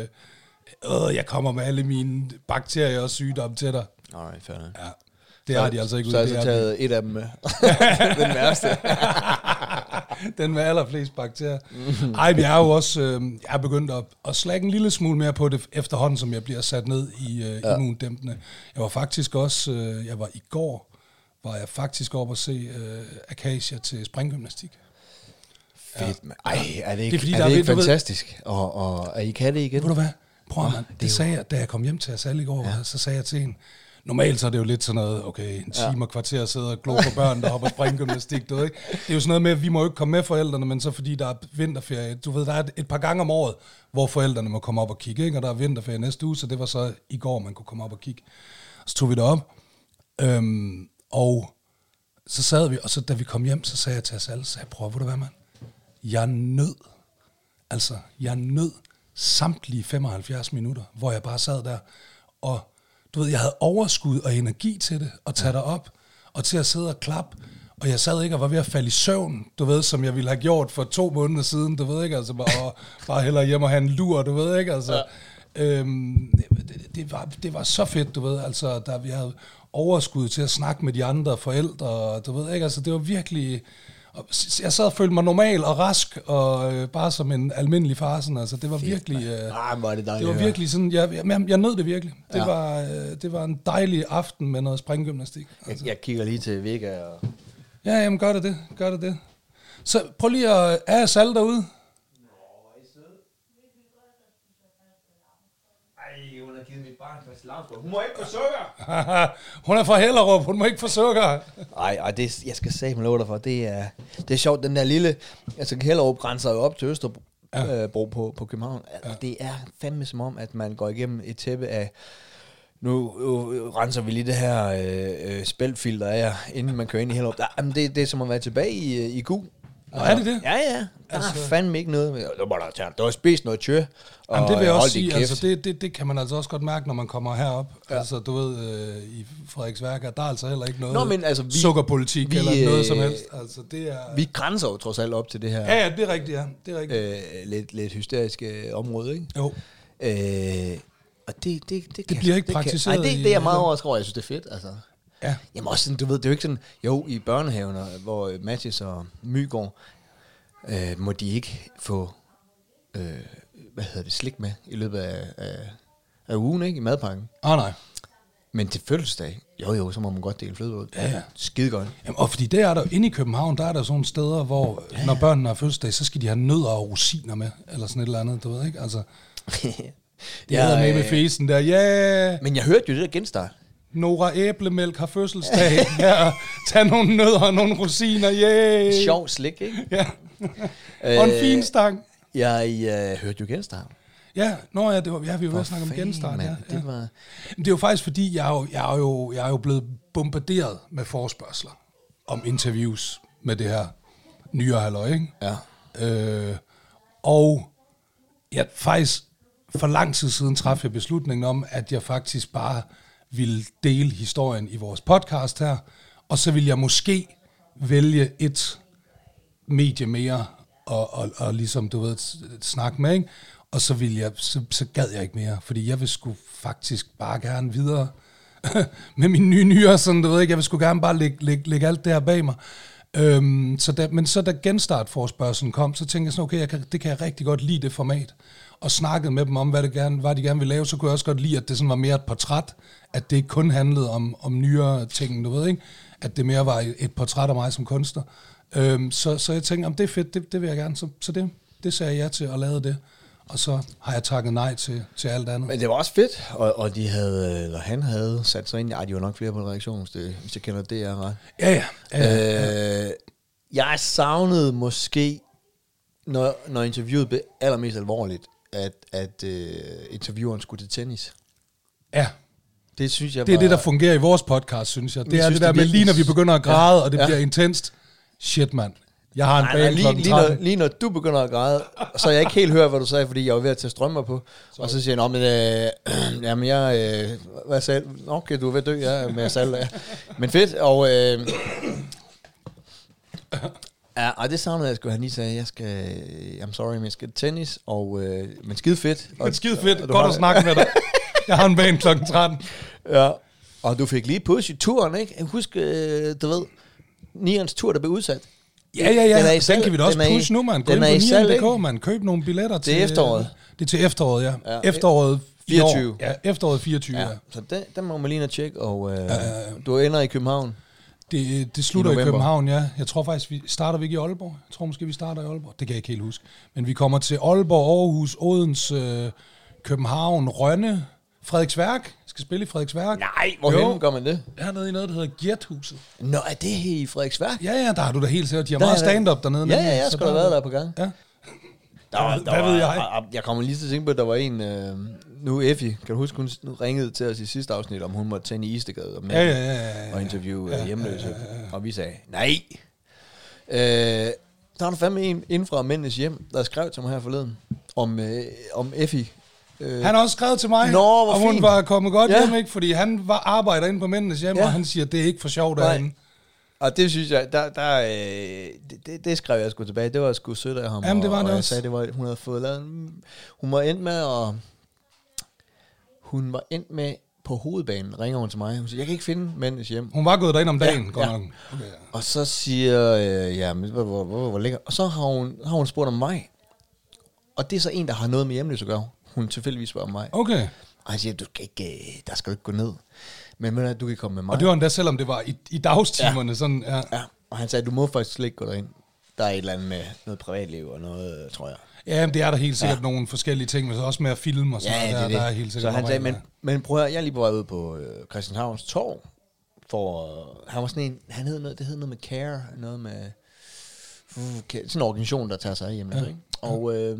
S1: Øh, øh, jeg kommer med alle mine bakterier og sygdomme til dig.
S2: Alright, fair nok.
S1: Ja. Det har de altså ikke
S2: Så
S1: ude i det
S2: har jeg så
S1: er
S2: taget et af dem øh. med. den værste.
S1: Den med allerflest bakterier. Ej, men jeg er jo også øh, jeg er begyndt at, at slække en lille smule mere på det efterhånden, som jeg bliver sat ned i øh, ja. immundæmpende. Jeg var faktisk også, øh, jeg var i går, var jeg faktisk oppe at se øh, Acacia til springgymnastik.
S2: Fedt, man. Ej, er det ikke,
S1: Det er fordi,
S2: er
S1: der
S2: det
S1: er
S2: ikke
S1: ved- du ved-
S2: fantastisk? Og, og, og I kan det igen?
S1: Ved du hvad? Prøv at,
S2: Nå,
S1: man.
S2: det
S1: Det,
S2: er jo-
S1: sagde jeg, da jeg kom hjem til os alle i går, ja. så sagde jeg til hende, normalt så er det jo lidt sådan noget, okay, en time ja. og kvarter at sidde og glo på børn, der hopper springgymnastik, du ved ikke? Det er jo sådan noget med, at vi må jo ikke komme med forældrene, men så fordi der er vinterferie, du ved, der er et, et par gange om året, hvor forældrene må komme op og kigge, ikke? Og der er vinterferie næste uge, så det var så i går, man kunne komme op og kigge. Så tog vi det op, øhm, og så sad vi, og så da vi kom hjem, så sagde jeg til os alle, så sagde jeg, prøv, ved du hvad, mand? Jeg er nødt. Altså, jeg nød samtlige 75 minutter, hvor jeg bare sad der, og du ved, jeg havde overskud og energi til det, og tage dig op, og til at sidde og klappe, og jeg sad ikke og var ved at falde i søvn, du ved, som jeg ville have gjort for to måneder siden, du ved ikke, altså bare, og bare hellere hjem og have en lur, du ved ikke, altså. Øhm, det, det, var, det var så fedt, du ved, altså, der, vi havde overskud til at snakke med de andre forældre, og du ved ikke, altså, det var virkelig, og s- jeg sad og følte mig normal og rask, og øh, bare som en almindelig far, sådan, altså, det var virkelig, øh,
S2: Ah, hvor er det
S1: det
S2: dejligt.
S1: var
S2: at høre.
S1: virkelig sådan, jeg, jeg, jeg nød det virkelig. Det,
S2: Ja.
S1: var, øh, det var en dejlig aften med noget springgymnastik.
S2: Jeg, jeg kigger lige til Vega og...
S1: Ja, jamen gør det det, gør det det. Så prøv lige at, er jeg salg derude?
S3: Ej, hun har givet mit barn fast lavsbrød. Hun må ikke få sukker!
S1: Haha, hun er fra Hellerup, hun må ikke få sukker.
S2: Ej, ej det, jeg skal sige love dig for, det er, det er sjovt, den der lille, altså Hellerup grænser jo op til Østerbro ja. øh, bro på, på København, altså, ja. det er fandme som om, at man går igennem et tæppe af, nu øh, øh, renser vi lige det her øh, øh, spældfilter af, jer, inden man kører ind i Hellerup, der, jamen, det, det er som at være tilbage i, øh, i Gu.
S1: Nå, er det det?
S2: Ja, ja. Der altså, er fandme ikke noget. med- Der var der tæerne. Du har spist noget tjø. Og
S1: Jamen, det vil jeg
S2: øh,
S1: også
S2: hold
S1: sige,
S2: din kæft.
S1: altså, det, det, det kan man altså også godt mærke, når man kommer herop. Ja. Altså, du ved, øh, i Frederiksværk, at der er altså heller ikke noget
S2: Nå, men altså, vi-
S1: sukkerpolitik
S2: vi,
S1: eller noget som
S2: øh,
S1: helst. Altså, det er,
S2: Vi grænser jo trods alt op til det her
S1: ja, ja, det er rigtigt, ja. Det er rigtigt.
S2: øh, lidt, lidt hysteriske område, ikke?
S1: Jo.
S2: Øh, og det, det, det, det kan,
S1: bliver ikke
S2: det kan-
S1: praktiseret
S2: Nej, det,
S1: i- øh,
S2: det er jeg meget overrasket over. Jeg synes, det er fedt, altså.
S1: Ja.
S2: Jamen også sådan, du ved, det er jo ikke sådan, jo, i børnehaven, og- hvor øh, Mathis og Mygaard, øh, må de ikke få, øh, hvad hedder det, slik med i løbet af, af, af ugen, ikke? I madpakken.
S1: Ah, nej.
S2: Men til fødselsdag, jo jo, så må man godt dele fløde ud.
S1: Ja, ja.
S2: Skide godt.
S1: Jamen, og fordi det er der jo- inde i København, der er der sådan nogle steder, hvor ja. når børnene har fødselsdag, så skal de have nødder og rosiner med, eller sådan et eller andet, du ved ikke? Altså, det
S2: Jeg,
S1: hedder med med
S2: øh,
S1: fesen der, ja, yeah,
S2: Men jeg hørte jo det der genstart.
S1: Nora Æblemælk har fødselsdag, ja, tag nogle nødder og nogle rosiner, yeah.
S2: Sjov slik, ikke?
S1: Ja. og en
S2: Øh,
S1: fin stang.
S2: Jeg øh, hørte jo genstart.
S1: Ja, nå ja, det var, ja vi var ved at snakke om
S2: Fanden,
S1: genstart.
S2: mand,
S1: Ja, ja.
S2: Det var...
S1: Men det er jo faktisk, fordi jeg er jo, jeg er jo, jeg er jo blevet bombarderet med forspørgseler om interviews med det her nyere halløj, ikke?
S2: Ja.
S1: Øh, og jeg faktisk for lang tid siden træffede jeg beslutningen om, at jeg faktisk bare ville dele historien i vores podcast her, og så ville jeg måske vælge et medie mere og, og, og ligesom, du ved, s- snakke med, ikke? Og så, ville jeg, så, så gad jeg ikke mere, fordi jeg vil sgu faktisk bare gerne videre med mine nye nyere, sådan, du ved ikke, jeg vil sgu gerne bare lægge, lægge, lægge alt det her bag mig. Øhm, så da, men så da genstartforspørgselen kom, så tænkte jeg sådan, okay, jeg kan, det kan jeg rigtig godt lide det format. Og snakkede med dem om, hvad, det gerne, hvad de gerne ville lave, så kunne jeg også godt lide, at det sådan var mere et portræt, at det ikke kun handlede om, om nyere ting, du ved ikke, at det mere var et- et portræt af mig som kunstner. Øhm, så, så jeg tænkte, om det er fedt, det, det vil jeg gerne. Så, så det, det sagde jeg ja til og lavede det. Og så har jeg takket nej til, til alt andet.
S2: Men det var også fedt, og, og de havde, eller han havde sat sig ind i, ej, de var nok flere på en reaktion, hvis, det, hvis jeg kender det, jeg ret.
S1: Ja, ja. ja, ja.
S2: Øh, jeg savnede måske, når, når interviewet blev allermest alvorligt, at, at øh, intervieweren skulle til tennis.
S1: ja.
S2: Det synes jeg
S1: Det er
S2: var,
S1: det, der fungerer i vores podcast, synes jeg. Det
S2: Jeg
S1: er
S2: synes,
S1: det der
S2: det
S1: med,
S2: virkelig-
S1: lige når vi begynder at græde, og det
S2: Ja.
S1: bliver intenst. Shit, mand. Jeg har en
S2: Nej, nej,
S1: bane
S2: lige,
S1: klokken
S2: lige, når,
S1: 13.
S2: lige når du begynder at græde, så jeg ikke helt hører, hvad du sagde, fordi jeg var ved at tage strømmer på. Og så siger jeg, "Nå, men, øh, jamen jeg, øh, hvad sagde du? Nå, Okay, du er ved at dø, ja, med salg. Ja. Men fedt, og... Øh, ja, og det savnede jeg, skulle han lige sagde, jeg skal, øh, I'm sorry, men jeg skal til tennis, og, øh, men skide fedt. Og,
S1: Men skide fedt.
S2: og du
S1: Godt
S2: har-
S1: at snakke med dig. Jeg har en bane klokken 13.
S2: Ja, og du fik lige push i turen, ikke? Husk, øh, du ved, Nians tur, der blev udsat.
S1: Ja, ja,
S2: Den er i
S1: ja. Den,
S2: salg.
S1: kan vi da også
S2: Den er i-
S1: pushe nu, mand. Gå
S2: den
S1: ind på
S2: er i salg,
S1: 9.dk,
S2: ikke?
S1: mand. Køb nogle billetter til...
S2: efteråret.
S1: Det er til efteråret, ja.
S2: Ja.
S1: Efteråret i år.
S2: 24.
S1: Ja, efteråret 24, ja.
S2: Ja, så den, den må man lige ind og tjekke, og øh, du ender i København.
S1: Det, det slutter i,
S2: I november.
S1: København, ja. Jeg tror faktisk, vi starter vi ikke i Aalborg. Jeg tror måske, vi starter i Aalborg. Det kan jeg ikke helt huske. Men vi kommer til Aalborg, Aarhus, Odense, øh, København, Rønne, Frederiksværk. Jeg skal spille i Frederiksværk.
S2: Nej,
S1: Jo.
S2: hvorhen gør man det?
S1: Hernede i noget, der hedder Gjerthuset.
S2: Nå, er det her i Frederiksværk?
S1: Ja, ja, der har du da helt sikkert. De har
S2: Der
S1: meget
S2: er der-
S1: stand-up dernede.
S2: Ja,
S1: nemlig,
S2: ja,
S1: så
S2: jeg skulle have
S1: der-
S2: været der på gang.
S1: Ja.
S2: Der, var-
S1: Hvad
S2: var-
S1: ved jeg?
S2: og- og Jeg kommer lige til at tænke på, at der var en, øh, nu Effie, kan du huske, hun s- nu ringede til os i sidste afsnit, om hun måtte tænde i Istegade om
S1: Ja,
S2: natten
S1: ja, ja, ja, ja.
S2: og interviewe ja, hjemløse. Og vi sagde, nej! Øh, der var der fandme en inden fra Mændenes Hjem, der skrev til mig her forleden, om, øh, om Effie. Øh,
S1: Han har også skrevet til mig,
S2: Nå, hvor
S1: om hun
S2: fint.
S1: var kommet godt
S2: Ja.
S1: ja. hjem, ikke? fordi han var, arbejder inde på mændenes hjem,
S2: Ja.
S1: ja. og han siger, det er ikke for sjovt
S2: Nej.
S1: derinde.
S2: Og det synes jeg, der, der, øh, det- det, det skrev jeg sgu tilbage. Det var sgu sødt af ham.
S1: Jamen, det var
S2: og,
S1: det
S2: og jeg
S1: også.
S2: sagde, det var, hun havde fået lavet en, Hun var endt med at... Hun var endt med på hovedbanen, ringer hun til mig. Hun siger, jeg kan ikke finde mændenes hjem.
S1: Hun var gået derind om dagen,
S2: Ja,
S1: ja, godt
S2: ja.
S1: ja. nok. Okay, ja.
S2: Og så siger øh, ja, men hvor, hvor, hvor, hvor ligger... Og så har hun, har hun spurgt om mig. Og det er så en, der har noget med hjemløs at gøre. Hun tilfældigvis spørger om mig.
S1: okay.
S2: Og han siger, du skal ikke, øh, der skal du ikke gå ned. Men ved du, hvad, du kan komme med mig.
S1: Og det var endda, selvom det var i, i dagstimerne, ja. sådan, ja.
S2: Ja, og han sagde, du må faktisk slet ikke gå derind. Der er et eller andet med noget privatliv og noget, øh, tror jeg.
S1: Ja, jamen, det er der helt sikkert ja. nogle forskellige ting, men så også med at filme og sådan noget, der, der er helt
S2: så
S1: sikkert
S2: han
S1: nogle
S2: sagde, men,
S1: regler.
S2: men prøv at høre, jeg er lige på vej ud på øh, Christianshavns Torv, for øh, han var sådan en, han hed noget, det hed noget med Care, noget med, uh, Care- sådan en organisation, der tager sig af hjemme. Ja. Ikke? Og øh,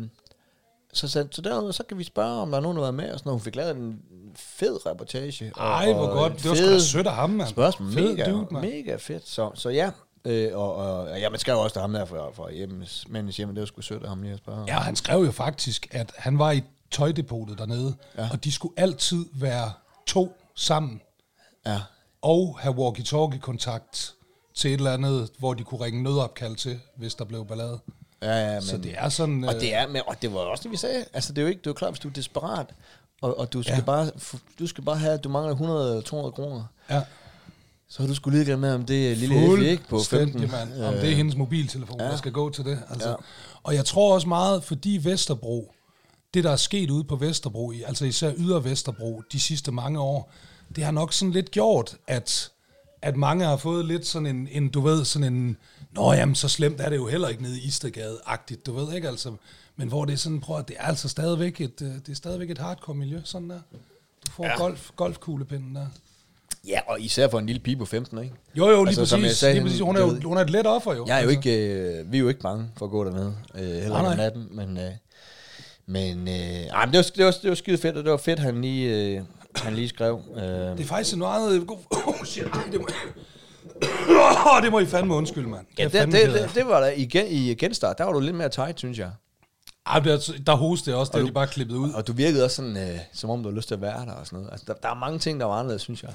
S2: så sagde han, så derude, så kan vi spørge, om der er nogen, der har været med, og sådan noget. Hun fik lavet en fed reportage. og-
S1: Ej, hvor
S2: og
S1: godt.
S2: en
S1: Det var sgu da
S2: fed-
S1: sødt af ham, mand.
S2: Spørgsmål.
S1: Fed
S2: mega,
S1: dude, mand.
S2: mega fedt. Så, så ja, øh, og, og, ja, man skal jo også til ham der fra, fra hjemmes, mændens hjem, det var sgu sødt af ham lige at spørge.
S1: Ja, han skrev jo faktisk, at han var i tøjdepotet dernede, ja. og de skulle altid være to sammen
S2: ja.
S1: og have walkie-talkie-kontakt til et eller andet, hvor de kunne ringe nødopkald til, hvis der blev ballade.
S2: Ja, ja, men,
S1: Så det er øh, sådan...
S2: og det er, men, og det var også det, vi sagde. Altså, det er jo ikke, det er jo klart, hvis du er desperat, og, og du, skal ja. bare, f- du skal bare have, du mangler 100 eller 200 kroner,
S1: Ja,
S2: så er du skulle lige med, om det er lille Effie, ikke? På 15.
S1: Fuldstændig, mand. Om det er hendes mobiltelefon, ja. der skal gå til det. Altså. Ja. Og jeg tror også meget, fordi Vesterbro, det der er sket ude på Vesterbro, i- altså især yder Vesterbro de sidste mange år, det har nok sådan lidt gjort, at, at mange har fået lidt sådan en, en, du ved, sådan en, nå jamen, så slemt er det jo heller ikke nede i Istegade-agtigt, du ved ikke altså. Men hvor det er sådan, prøv at det er altså stadigvæk et, øh, det er stadigvæk et hardcore miljø, sådan der. Du får ja. golf, golfkuglepinden der.
S2: Ja, og især for en lille pige på 15, ikke?
S1: Jo, jo, lige
S2: Altså,
S1: altså,
S2: som jeg
S1: præcis.
S2: sagde,
S1: Sagde, lige præcis. Hun, er
S2: du
S1: jo,
S2: ved-
S1: hun er et let offer, jo.
S2: Jeg er jo
S1: altså.
S2: ikke, øh, vi er jo ikke bange for at gå dernede, øh, heller
S1: Nej,
S2: ikke om
S1: nej.
S2: natten, men, øh, men, øh, ej, men det, var, det, var, det var skide fedt, og det var fedt, han lige, øh, han lige skrev. Øh,
S1: Det er faktisk en meget god... Oh, shit, ej, det må... Åh, det må I fandme undskylde, mand.
S2: ja,
S1: Jeg er
S2: det,
S1: fandme
S2: det,
S1: ked af
S2: det, det var der igen, i genstart, der var du lidt mere tight, synes jeg.
S1: Ej, altså, der, der hostede jeg også, der er de bare klippet ud.
S2: Og du virkede også sådan, øh, som om du havde lyst til at være der og sådan noget. Altså, der, der er mange ting, der var anderledes, synes jeg.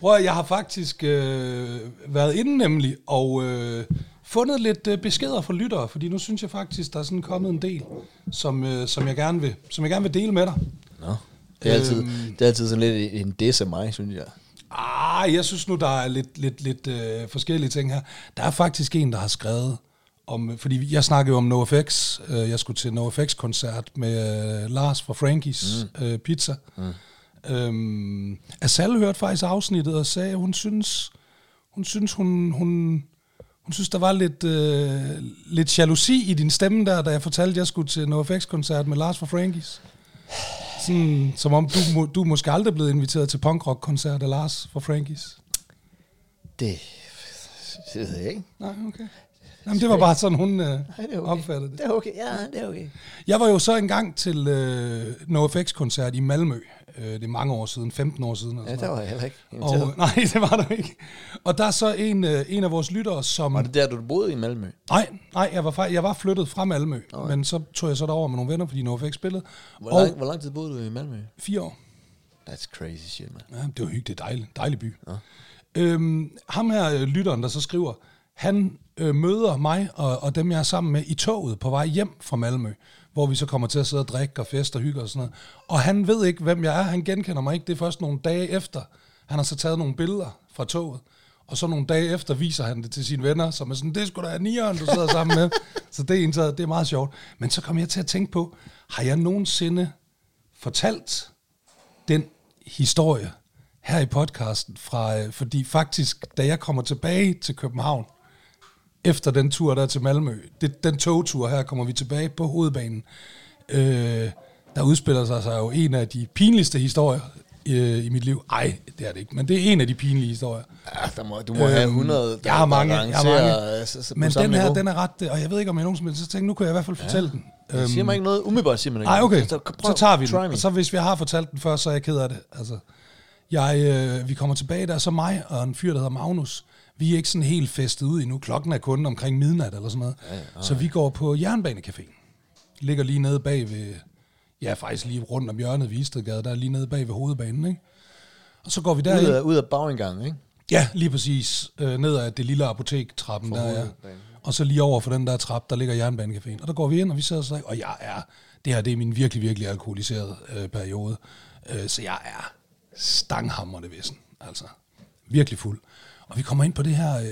S1: Prøv at, jeg har faktisk øh, været inde nemlig, og øh, fundet lidt øh, beskeder fra lyttere, fordi nu synes jeg faktisk, der er sådan kommet en del, som, øh, som, jeg, gerne vil, som jeg gerne vil dele med dig.
S2: Nå. Det er, altid,
S1: Øhm.
S2: det er altid sådan lidt en diss af mig, synes jeg.
S1: Ah, jeg synes nu, der er lidt, lidt, lidt øh, forskellige ting her. Der er faktisk en, der har skrevet om, fordi jeg snakkede jo om NoFX. Øh, jeg skulle til NoFX-koncert med øh, Lars fra Frankies mm. øh, Pizza. Mm. Øhm, Asal hørte faktisk afsnittet og sagde, at hun synes, hun synes, hun, hun, hun synes, der var lidt, øh, lidt jalousi i din stemme der, da jeg fortalte, at jeg skulle til NoFX-koncert med Lars fra Frankies. Sådan, som om du, må- du er måske aldrig blevet inviteret til punkrock-koncert af Lars fra Frankies.
S2: Det, det ved jeg ikke.
S1: Nej, okay. Jamen, det var bare sådan, hun øh,
S2: Nej, det er okay.
S1: opfattede det.
S2: Det er okay, ja, det er okay.
S1: Jeg var jo så engang til øh, NoFX-koncert i Malmø. Øh, det er mange år siden, 15 år siden. Eller
S2: Ja,
S1: sådan
S2: der
S1: noget.
S2: var jeg heller ikke inviteret.
S1: Og, nej, det var der ikke. Og der er så en, øh, en af vores lyttere, som...
S2: Var det der, du boede i Malmø?
S1: Nej, nej, jeg var, fra, jeg var flyttet fra Malmø, men så tog jeg så derover med nogle venner, fordi NoFX spillede.
S2: Hvor,
S1: og
S2: lang, hvor lang tid boede du i Malmø?
S1: fire år.
S2: That's crazy shit, man.
S1: Ja, det var hyggeligt. Det er dejligt. Dejlig by. Ja. Øhm, ham her, øh, lytteren, der så skriver, han øh, møder mig og, og dem, jeg er sammen med, i toget på vej hjem fra Malmø, hvor vi så kommer til at sidde og drikke og feste og hygge og sådan noget. Og han ved ikke, hvem jeg er. Han genkender mig ikke. Det er først nogle dage efter. Han har så taget nogle billeder fra toget. Og så nogle dage efter viser han det til sine venner, som er sådan, det skulle da nieren, du sidder sammen med. Så det er, indtaget, det er meget sjovt. Men så kom jeg til at tænke på, har jeg nogensinde fortalt den historie her i podcasten, fra, øh, fordi faktisk, da jeg kommer tilbage til København, efter den tur der til Malmø, det, den togtur her, kommer vi tilbage på hovedbanen, øh, der udspiller sig, sig jo en af de pinligste historier øh, i mit liv. Ej, det er det ikke, men det er en af de pinlige historier.
S2: Ja, der må, du må øhm, have 100. der-
S1: jeg har
S2: der
S1: mange, jeg har
S2: rangerer,
S1: mange.
S2: øh, så- så på
S1: Men den
S2: samme
S1: her,
S2: niveau.
S1: den er ret, øh, og jeg ved ikke, om jeg nogensinde så tænkte, nu kunne jeg i hvert fald fortælle den.
S2: Det siger mig ikke noget. Umiddelbart siger man ikke
S1: øhm, Nej, okay.
S2: noget.
S1: Så,
S2: prøv,
S1: så tager vi den.
S2: try me.
S1: Og så hvis vi har fortalt den før, så er jeg ked af det. Altså, jeg, øh, vi kommer tilbage der, er så mig og en fyr, der hedder Magnus, vi er ikke sådan helt festet ud endnu. Klokken er kun omkring midnat eller sådan noget. Ja, ja, så vi går på Jernbanecaféen. Ligger lige nede bag ved, ja faktisk lige rundt om hjørnet ved Istedgade, der er lige nede bag ved hovedbanen, ikke? Og så går vi derind.
S2: ud, af, ud af bagindgangen, ikke?
S1: Ja, lige præcis. Øh, ned ad det lille apotektrappen, der er. Og så lige over for den der trap, der ligger Jernbanecaféen. Og der går vi ind, og vi sidder og snakker, og jeg er, det her det er min virkelig, virkelig alkoholiserede øh, periode. Øh, så jeg er stanghamrende væsen, altså. Virkelig fuld. Og vi kommer ind på det her øh,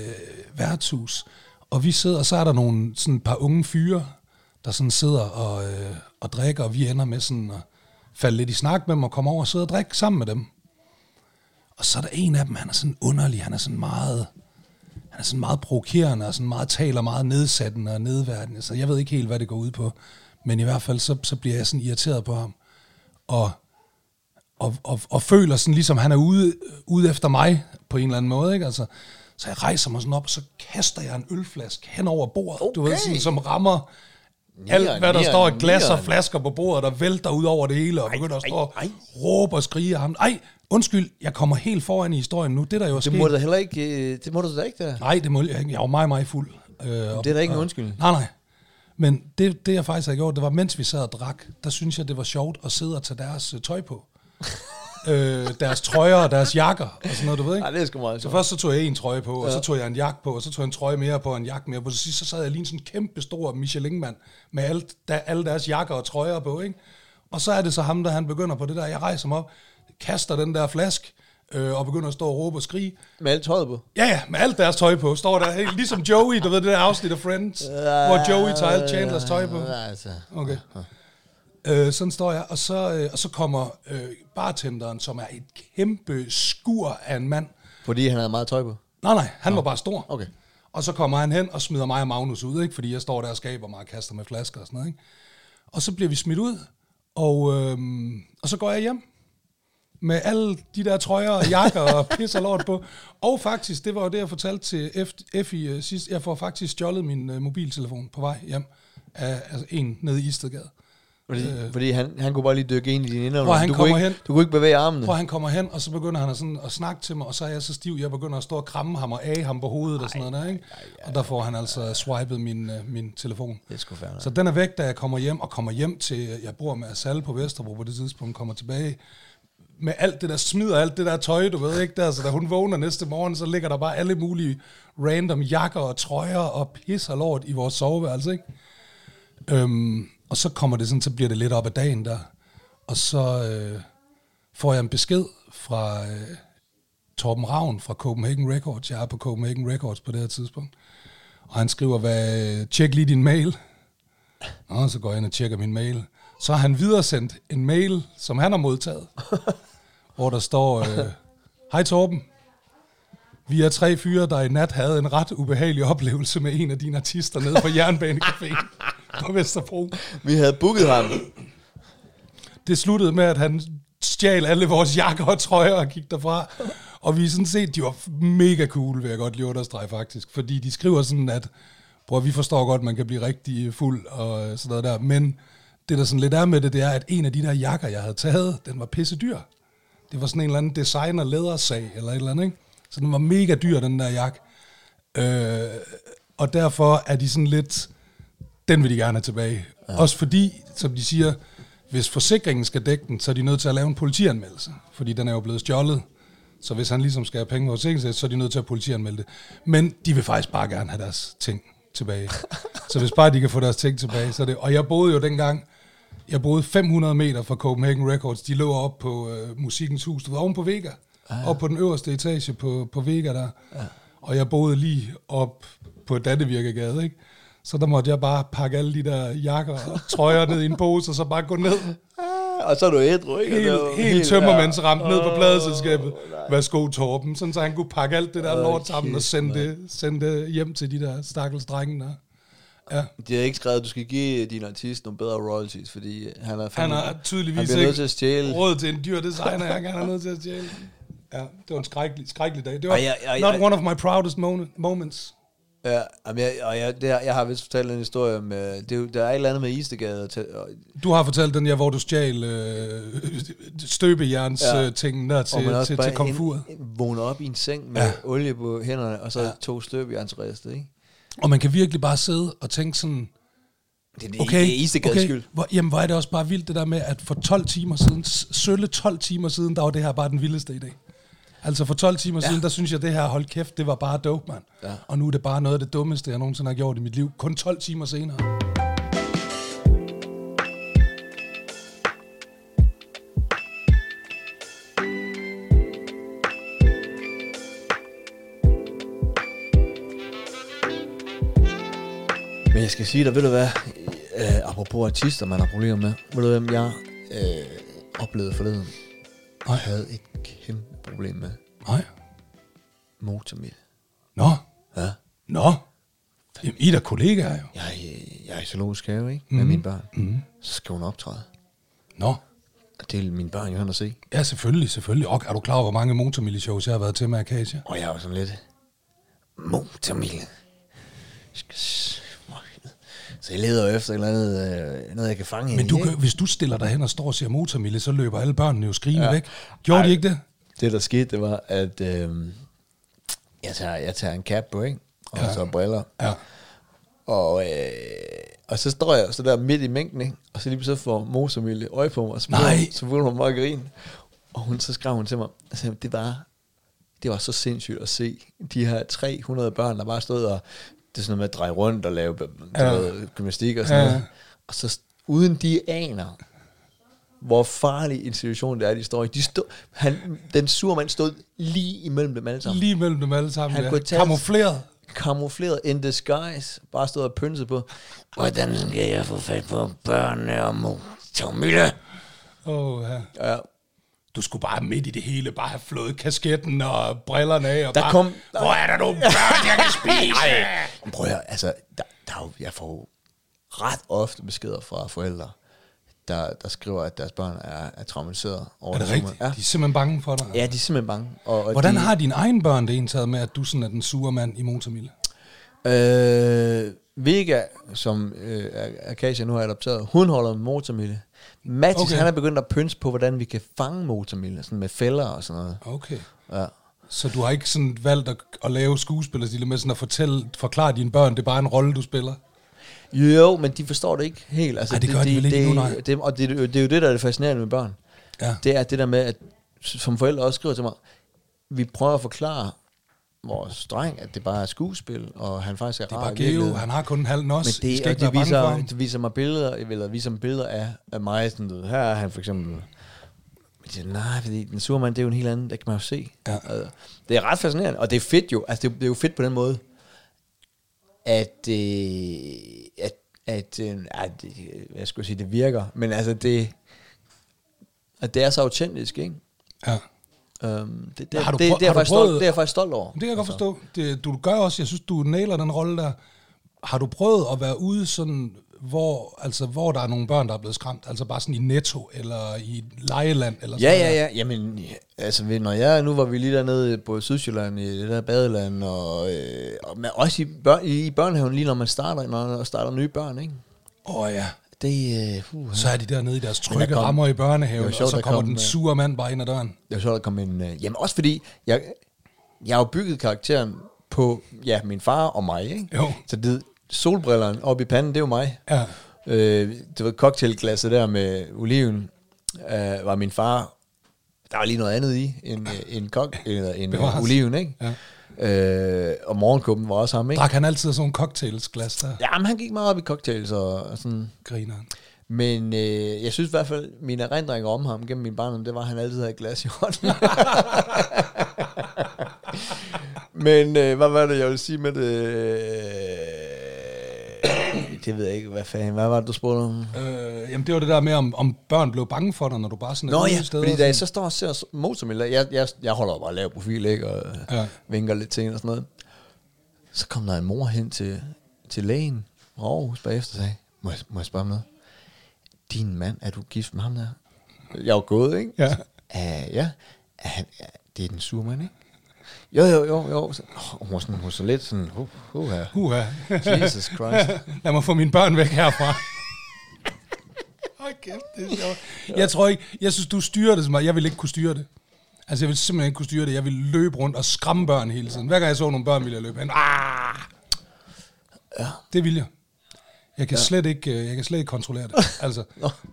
S1: værtshus, og vi sidder, og så er der nogle, sådan et par unge fyre, der sådan sidder og, øh, og drikker, og vi ender med sådan at falde lidt i snak med dem, og komme over og sidde og drikke sammen med dem. Og så er der en af dem, han er sådan underlig, han er sådan meget, han er sådan meget provokerende, og sådan meget taler meget nedsættende og nedværdende, så jeg ved ikke helt, hvad det går ud på. Men i hvert fald, så, så bliver jeg sådan irriteret på ham, og, og, og, og føler sådan ligesom, han er ude, ude efter mig på en eller anden måde, ikke? Altså, så jeg rejser mig sådan op, og så kaster jeg en ølflaske hen over bordet, okay. du ved,
S2: Okay.
S1: sådan, som rammer
S2: Nieren,
S1: alt, hvad der
S2: nieren,
S1: står i glas og
S2: nieren.
S1: flasker på bordet, der vælter ud over det hele, og begynder at stå og
S2: ej, ej.
S1: råbe og skrige af ham. Ej, undskyld, jeg kommer helt foran i historien nu. Det der jo er
S2: Det
S1: sket.
S2: må du da heller ikke... øh, Det må du da ikke, der.
S1: Nej, det må jeg ikke. Jeg var meget, meget fuld. Øh,
S2: Det er da ikke en undskyldning.
S1: Nej, nej. Men det, det, jeg faktisk havde gjort, det var, mens vi sad og drak, der synes jeg, det var sjovt at sidde og tage deres øh, tøj på. øh, deres trøjer og deres jakker og sådan noget, du ved ikke?
S2: Nej, det er sgu meget
S1: Så
S2: sjovt.
S1: først så tog jeg en trøje på, og så tog jeg en jakke på, og så tog jeg en trøje mere på, og en jakke mere på. Så sidst så sad jeg lige sådan en kæmpe stor Michelin-mand med alt, der, alle deres jakker og trøjer på, ikke? Og så er det så ham, der han begynder på det der. Jeg rejser mig op, kaster den der flaske, øh, og begynder at stå og råbe og skrige.
S2: Med alt tøjet på.
S1: Ja, ja, med alt deres tøj på, står der helt ligesom Joey, du ved det der afsnit af Friends, hvor Joey tager alt Chandlers tøj på.
S2: Ja, altså.
S1: Okay. Øh, sådan står jeg, og så, øh, og så kommer øh, bartenderen, som er et kæmpe skur af en mand.
S2: Fordi han havde meget tøj på.
S1: Nej, nej, han var bare stor.
S2: Okay.
S1: Og så kommer han hen og smider mig og Magnus ud, ikke? fordi jeg står der og skaber mig og kaster med flasker og sådan noget. Ikke? Og så bliver vi smidt ud, og, øhm, og så går jeg hjem med alle de der trøjer og jakker og pis og lort på. Og faktisk, det var jo det, jeg fortalte til F- F i øh, sidst, jeg får faktisk stjålet min øh, mobiltelefon på vej hjem af altså, en nede i Istedgade.
S2: Fordi, øh. fordi han, han kunne bare lige dykke ind i din indre.
S1: Hvor han
S2: du, kunne
S1: kommer
S2: ikke,
S1: hen.
S2: du kunne ikke bevæge armene.
S1: Prøv, han kommer hen, og så begynder han at, sådan, at snakke til mig, og så er jeg så stiv, jeg begynder at stå og kramme ham og af ham på hovedet og sådan noget der, ikke? Og der får han altså swipet min, øh, min telefon.
S2: Det er sgu færdigt.
S1: Så den er væk, da jeg kommer hjem, og kommer hjem til, jeg bor med Asal på Vesterbro på det tidspunkt, kommer tilbage, med alt det der smider, alt det der tøj, du ved ikke der, så da hun vågner næste morgen, så ligger der bare alle mulige random jakker og trøjer og pis og lort i vores soveværelse, ikke? Øhm, og så kommer det sådan, så bliver det lidt op ad dagen der, og så øh, får jeg en besked fra øh, Torben Ravn fra Copenhagen Records, jeg er på Copenhagen Records på det her tidspunkt, og han skriver, hvad, øh, tjek lige din mail, Nå, så går jeg ind og tjekker min mail. Så har han videresendt en mail, som han har modtaget, hvor der står, øh, Hej Torben, vi er tre fyre, der i nat havde en ret ubehagelig oplevelse med en af dine artister nede på Jernbanecaféen på Vesterbro.
S2: Vi havde booket ham.
S1: Det sluttede med, at han stjal alle vores jakker og trøjer og gik derfra. Og vi er sådan set, de var mega cool, vil jeg godt lige understrege faktisk. Fordi de skriver sådan, at bror, vi forstår godt, man kan blive rigtig fuld og øh, sådan noget der. Men det, der sådan lidt er med det, det er, at en af de der jakker, jeg havde taget, den var pisse dyr. Det var sådan en eller anden designer lædersag eller et eller andet, ikke? Så den var mega dyr, den der jakke. Øh, og derfor er de sådan lidt, den vil de gerne have tilbage. Ja. Også fordi, som de siger, hvis forsikringen skal dække den, så er de nødt til at lave en politianmeldelse, fordi den er jo blevet stjålet. Så hvis han ligesom skal have penge på forsikringen, så er de nødt til at politianmelde det. Men de vil faktisk bare gerne have deres ting tilbage. så hvis bare de kan få deres ting tilbage, så er det... Og jeg boede jo dengang, jeg boede 500 meter fra Copenhagen Records. De lå op på øh, Musikens Hus, du ved, oven på Vega. Ah, ja. Op på den øverste etage på, på Vega der. Ja. Og jeg boede lige op på Dannevirkegade, ikke? Så der måtte jeg bare pakke alle de der jakker og trøjer ned i en pose, og så bare gå ned.
S2: Ah, Og så er du ædru, ikke? Og det var
S1: Helt, helt tømmermandsramt ned på pladeselskabet.
S2: Åh, nej.
S1: Værsgo Torben, sådan så han kunne pakke alt det der
S2: Åh,
S1: lort sammen og
S2: kæft,
S1: sende det, sende det hjem til de der stakkels drenge der. Ja.
S2: De har ikke skrevet, at du skal give din artist nogle bedre royalties, fordi han er
S1: Han
S2: fandme-
S1: har
S2: han
S1: tydeligvis
S2: bliver nødt
S1: ikke
S2: til at stjæle.
S1: råd til en dyr designer, jeg gerne er nødt til at stjæle. Ja, det var en skrækkelig, skrækkelig dag. Det var
S2: Ej, ej, ej,
S1: not
S2: ej.
S1: one of my proudest moment, moments.
S2: Ja, jamen jeg, og jeg, det, har- jeg har vist fortalt en historie om, øh, det, er jo- der er et eller andet med Istegade, og, tæ- og,
S1: Du har fortalt den, jeg, hvor du stjal øh, støbejerns
S2: Ja.
S1: ja. øh, tingen der
S2: og man
S1: til, til, til komfuret.
S2: hen- vågner op i en seng med ja.
S1: Ja.
S2: olie på hænderne, og så
S1: Ja.
S2: ja. to støbjernsriste, ikke?
S1: Og man kan virkelig bare sidde og tænke sådan,
S2: Det er, det,
S1: okay,
S2: det er Istegades
S1: okay.
S2: skyld.
S1: Hvor, jamen, hvor er det også bare vildt det der med, at for 12 timer siden, s- sølle 12 timer siden, der var det her bare den vildeste idé. Altså for 12 timer
S2: Ja.
S1: ja. siden, der synes jeg, det her, hold kæft, det var bare dope, mand.
S2: Ja.
S1: Og nu er det bare noget af det dummeste, jeg nogensinde har gjort i mit liv. Kun 12 timer senere.
S2: Men jeg skal sige dig, ved du hvad, øh, apropos artister, man har problemer med, ved du hvem jeg øh, oplevede forleden, og havde et kæmpe problem med
S1: Nej.
S2: motormil.
S1: Nå.
S2: Ja.
S1: Nå. Jamen, I er da kollegaer jo.
S2: Jeg, er i- jeg er i zoologisk have, ikke?
S1: Mhm.
S2: Med mine børn. Mm. Så skal hun optræde.
S1: Nå.
S2: Og det vil mine børn jo hen og se.
S1: Ja, selvfølgelig, selvfølgelig. Og er du klar over, hvor mange motormillishows jeg har været til med Akasia?
S2: Og jeg var sådan lidt... Motormille. Skal s- Så jeg leder jo efter et eller andet, øh, noget jeg kan fange
S1: Men
S2: hende
S1: du
S2: i,
S1: kan,
S2: ikke?
S1: hvis du stiller dig hen og står og siger motormille, så løber alle børnene jo skrigende
S2: Ja.
S1: ja. væk. Gjorde
S2: Ej.
S1: Ej. de ikke det?
S2: Det der skete, det var, at øh, jeg, tager, jeg tager en cap på, ikke? Og ja.
S1: Ja.
S2: så briller.
S1: Ja.
S2: Og, øh, og så står jeg så der midt i mængden, ikke? og så lige så får Mosamille øje på mig, og så begynder,
S1: Nej.
S2: hun- så begynder hun bare at grine. Og hun, så skrev hun til mig, altså, det var, det var så sindssygt at se de her 300 børn, der bare stod og, det er sådan noget med at dreje rundt og lave ja.
S1: Ja.
S2: noget, gymnastik og sådan ja.
S1: Ja.
S2: noget. Og så st- uden de aner, hvor farlig en situation det er, de står i. De stod, han, den sure mand stod lige imellem dem alle sammen
S1: Lige mellem dem alle sammen.
S2: Han
S1: ja.
S2: kunne tage-
S1: Kamufleret.
S2: kamufleret in disguise, bare stod og pynsede på. Hvordan skal jeg få fat på børnene og motormille?
S1: Oh, ja.
S2: Ja,
S1: Du skulle bare midt i det hele, bare have flået kasketten og brillerne af. Og
S2: Der
S1: bare,
S2: kom-
S1: Hvor er der nogle børn, jeg kan spise?
S2: men prøv at høre, altså, der, der er jo, jeg får jo ret ofte beskeder fra forældre, der, der skriver, at deres børn er, er traumatiseret over
S1: Er det
S2: sommer.
S1: rigtigt? De er simpelthen bange for dig.
S2: Ja. ja, de er simpelthen bange. Og, og
S1: Hvordan
S2: de,
S1: har dine egne børn det indtaget med, at du sådan er den sure mand i motormille?
S2: Øh, Vega, som øh, A- Akasia nu har adopteret, hun holder med motormille. Mathis, okay.
S1: Okay.
S2: han er begyndt at pynse på, hvordan vi kan fange motormille, sådan med fælder og sådan noget.
S1: Okay.
S2: Ja.
S1: Så du har ikke sådan valgt at, at lave skuespillerstil med sådan at fortælle, forklare dine børn, det er bare en rolle, du spiller?
S2: Jo, men de forstår det ikke helt. Altså,
S1: Ej, det gør de vel ikke
S2: det,
S1: endnu, nej.
S2: Det, og det, det er jo det, der er det fascinerende med børn.
S1: Ja.
S2: Det er det der med, at som forældre også skriver til mig, vi prøver at forklare vores dreng, at det bare er skuespil, og han faktisk er
S1: Det er
S2: rar
S1: bare
S2: i
S1: Geo,
S2: virkeligheden.
S1: han har kun en halv nos.
S2: Men
S1: I
S2: det,
S1: skal
S2: og
S1: ikke
S2: de
S1: være bange for
S2: viser,
S1: ham.
S2: de viser mig billeder, eller viser mig billeder af, af mig, sådan noget. Her er han for eksempel. Men de siger, nej, fordi den sure mand, det er jo en helt anden, det kan man jo se.
S1: Ja.
S2: Altså, Det er ret fascinerende, og det er fedt jo, altså det er, det er jo fedt på den måde, at, øh, at, at, øh, at øh, jeg skulle sige, det virker, men altså det, at det er så autentisk, ikke?
S1: Ja.
S2: Um, det, det,
S1: Har du
S2: det,
S1: prøv-
S2: det, er jeg
S1: har du
S2: faktisk stolt,
S1: prøvet-
S2: det er jeg faktisk stolt over. Altså.
S1: Det kan jeg godt forstå. Det, du gør også, jeg synes, du nailer den rolle der. Har du prøvet at være ude sådan, hvor, altså, hvor der er nogle børn, der er blevet skræmt? Altså bare sådan i Netto, eller i Lejeland, eller
S2: Ja,
S1: sådan
S2: ja,
S1: noget?
S2: ja. Jamen, ja, altså, ved- når jeg, nu var vi lige dernede på Sydsjælland, i det der badeland, og, øh, og men også i, børn, i børnehaven, lige når man starter, når man starter nye børn, ikke?
S1: Åh oh, ja.
S2: Det, øh, puha.
S1: Så er de dernede i deres
S2: Men
S1: trygge
S2: der kom-
S1: rammer i
S2: Det
S1: børnehaven,
S2: var sjovt,
S1: og så
S2: der
S1: kommer
S2: kom,
S1: den
S2: øh,
S1: sure mand bare ind ad døren.
S2: Det var sjovt, der kom en... Øh, jamen, også fordi, jeg, jeg har jo bygget karakteren på, ja, min far og mig, ikke?
S1: Jo.
S2: Så det, solbrillerne op i panden, det er jo mig.
S1: Ja.
S2: Øh, det var cocktailglasset der med oliven, øh, var min far. Der var lige noget andet i end, øh, end, kok, eller end
S1: Bevares.
S2: øh, oliven, ikke? Ja. Øh, og morgenkåben var også ham, ikke?
S1: Drak han altid af sådan nogle cocktailsglas der? Ja.
S2: Jamen, han gik meget op i cocktails og, og sådan.
S1: Griner han.
S2: Men øh, jeg synes i hvert fald, mine erindringer om ham gennem min barndom, det var, at han altid havde et glas i hånden. Men øh, hvad var det, jeg ville sige med det? Øh, Det ved jeg ikke, hvad fanden. Hvad var det, du spurgte om?
S1: Øh, jamen det var det der med, om, om børn blev bange for dig, når du bare sådan
S2: Nå
S1: ude
S2: ja,
S1: steder
S2: fordi
S1: og
S2: da
S1: sådan-
S2: jeg så står og ser motormiddel, jeg, jeg, jeg holder jo bare lav profil, ikke? Og
S1: Ja.
S2: ja. vinker lidt til hende og sådan noget. Så kom der en mor hen til, til lægen fra Aarhus bagefter og sagde, må jeg, må jeg spørge om noget? Din mand, er du gift med ham der? Jeg er jo gået, ikke?
S1: Ja.
S2: Uh, ja. Er han, er, det er den sure mand, ikke? Jo, jo, jo, jo. Så, oh, hun var sådan, hun var så lidt sådan, uh, uh, uh,
S1: Uha.
S2: Jesus Christ.
S1: Lad mig få mine børn væk herfra. Hold kæft, det er sjovt. Jeg tror ikke, jeg synes, du styrer det så meget. Jeg vil ikke kunne styre det. Altså, jeg vil simpelthen ikke kunne styre det. Jeg vil løbe rundt og skræmme børn hele tiden. Hver gang jeg så nogle børn, ville jeg løbe hen. Ah! Ja. Det vil jeg. Jeg kan, ja. slet ikke, øh, jeg kan slet ikke kontrollere det. Altså,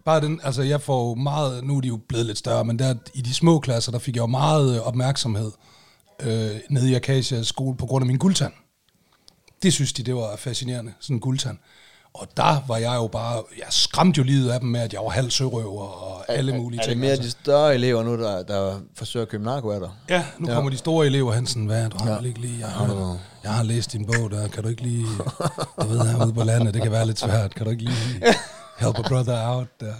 S1: bare den, altså, jeg får jo meget, nu er de jo blevet lidt større, men der, i de små klasser, der fik jeg jo meget øh, opmærksomhed øh, nede i Akacia skole på grund af min guldtand. Det synes de, det var fascinerende, sådan en guldtand. Og der var jeg jo bare, jeg skræmte jo livet af dem med, at jeg var halv sørøver og alle mulige
S2: er det
S1: ting. altså.
S2: mere de større elever nu, der, der forsøger at købe narko af dig?
S1: Ja, nu ja. kommer de store elever hen sådan, hvad, du har ja. ikke lige, jeg har, jeg har læst din bog der, kan du ikke lige, jeg ved herude på landet, det kan være lidt svært, kan du ikke lige help a brother out der.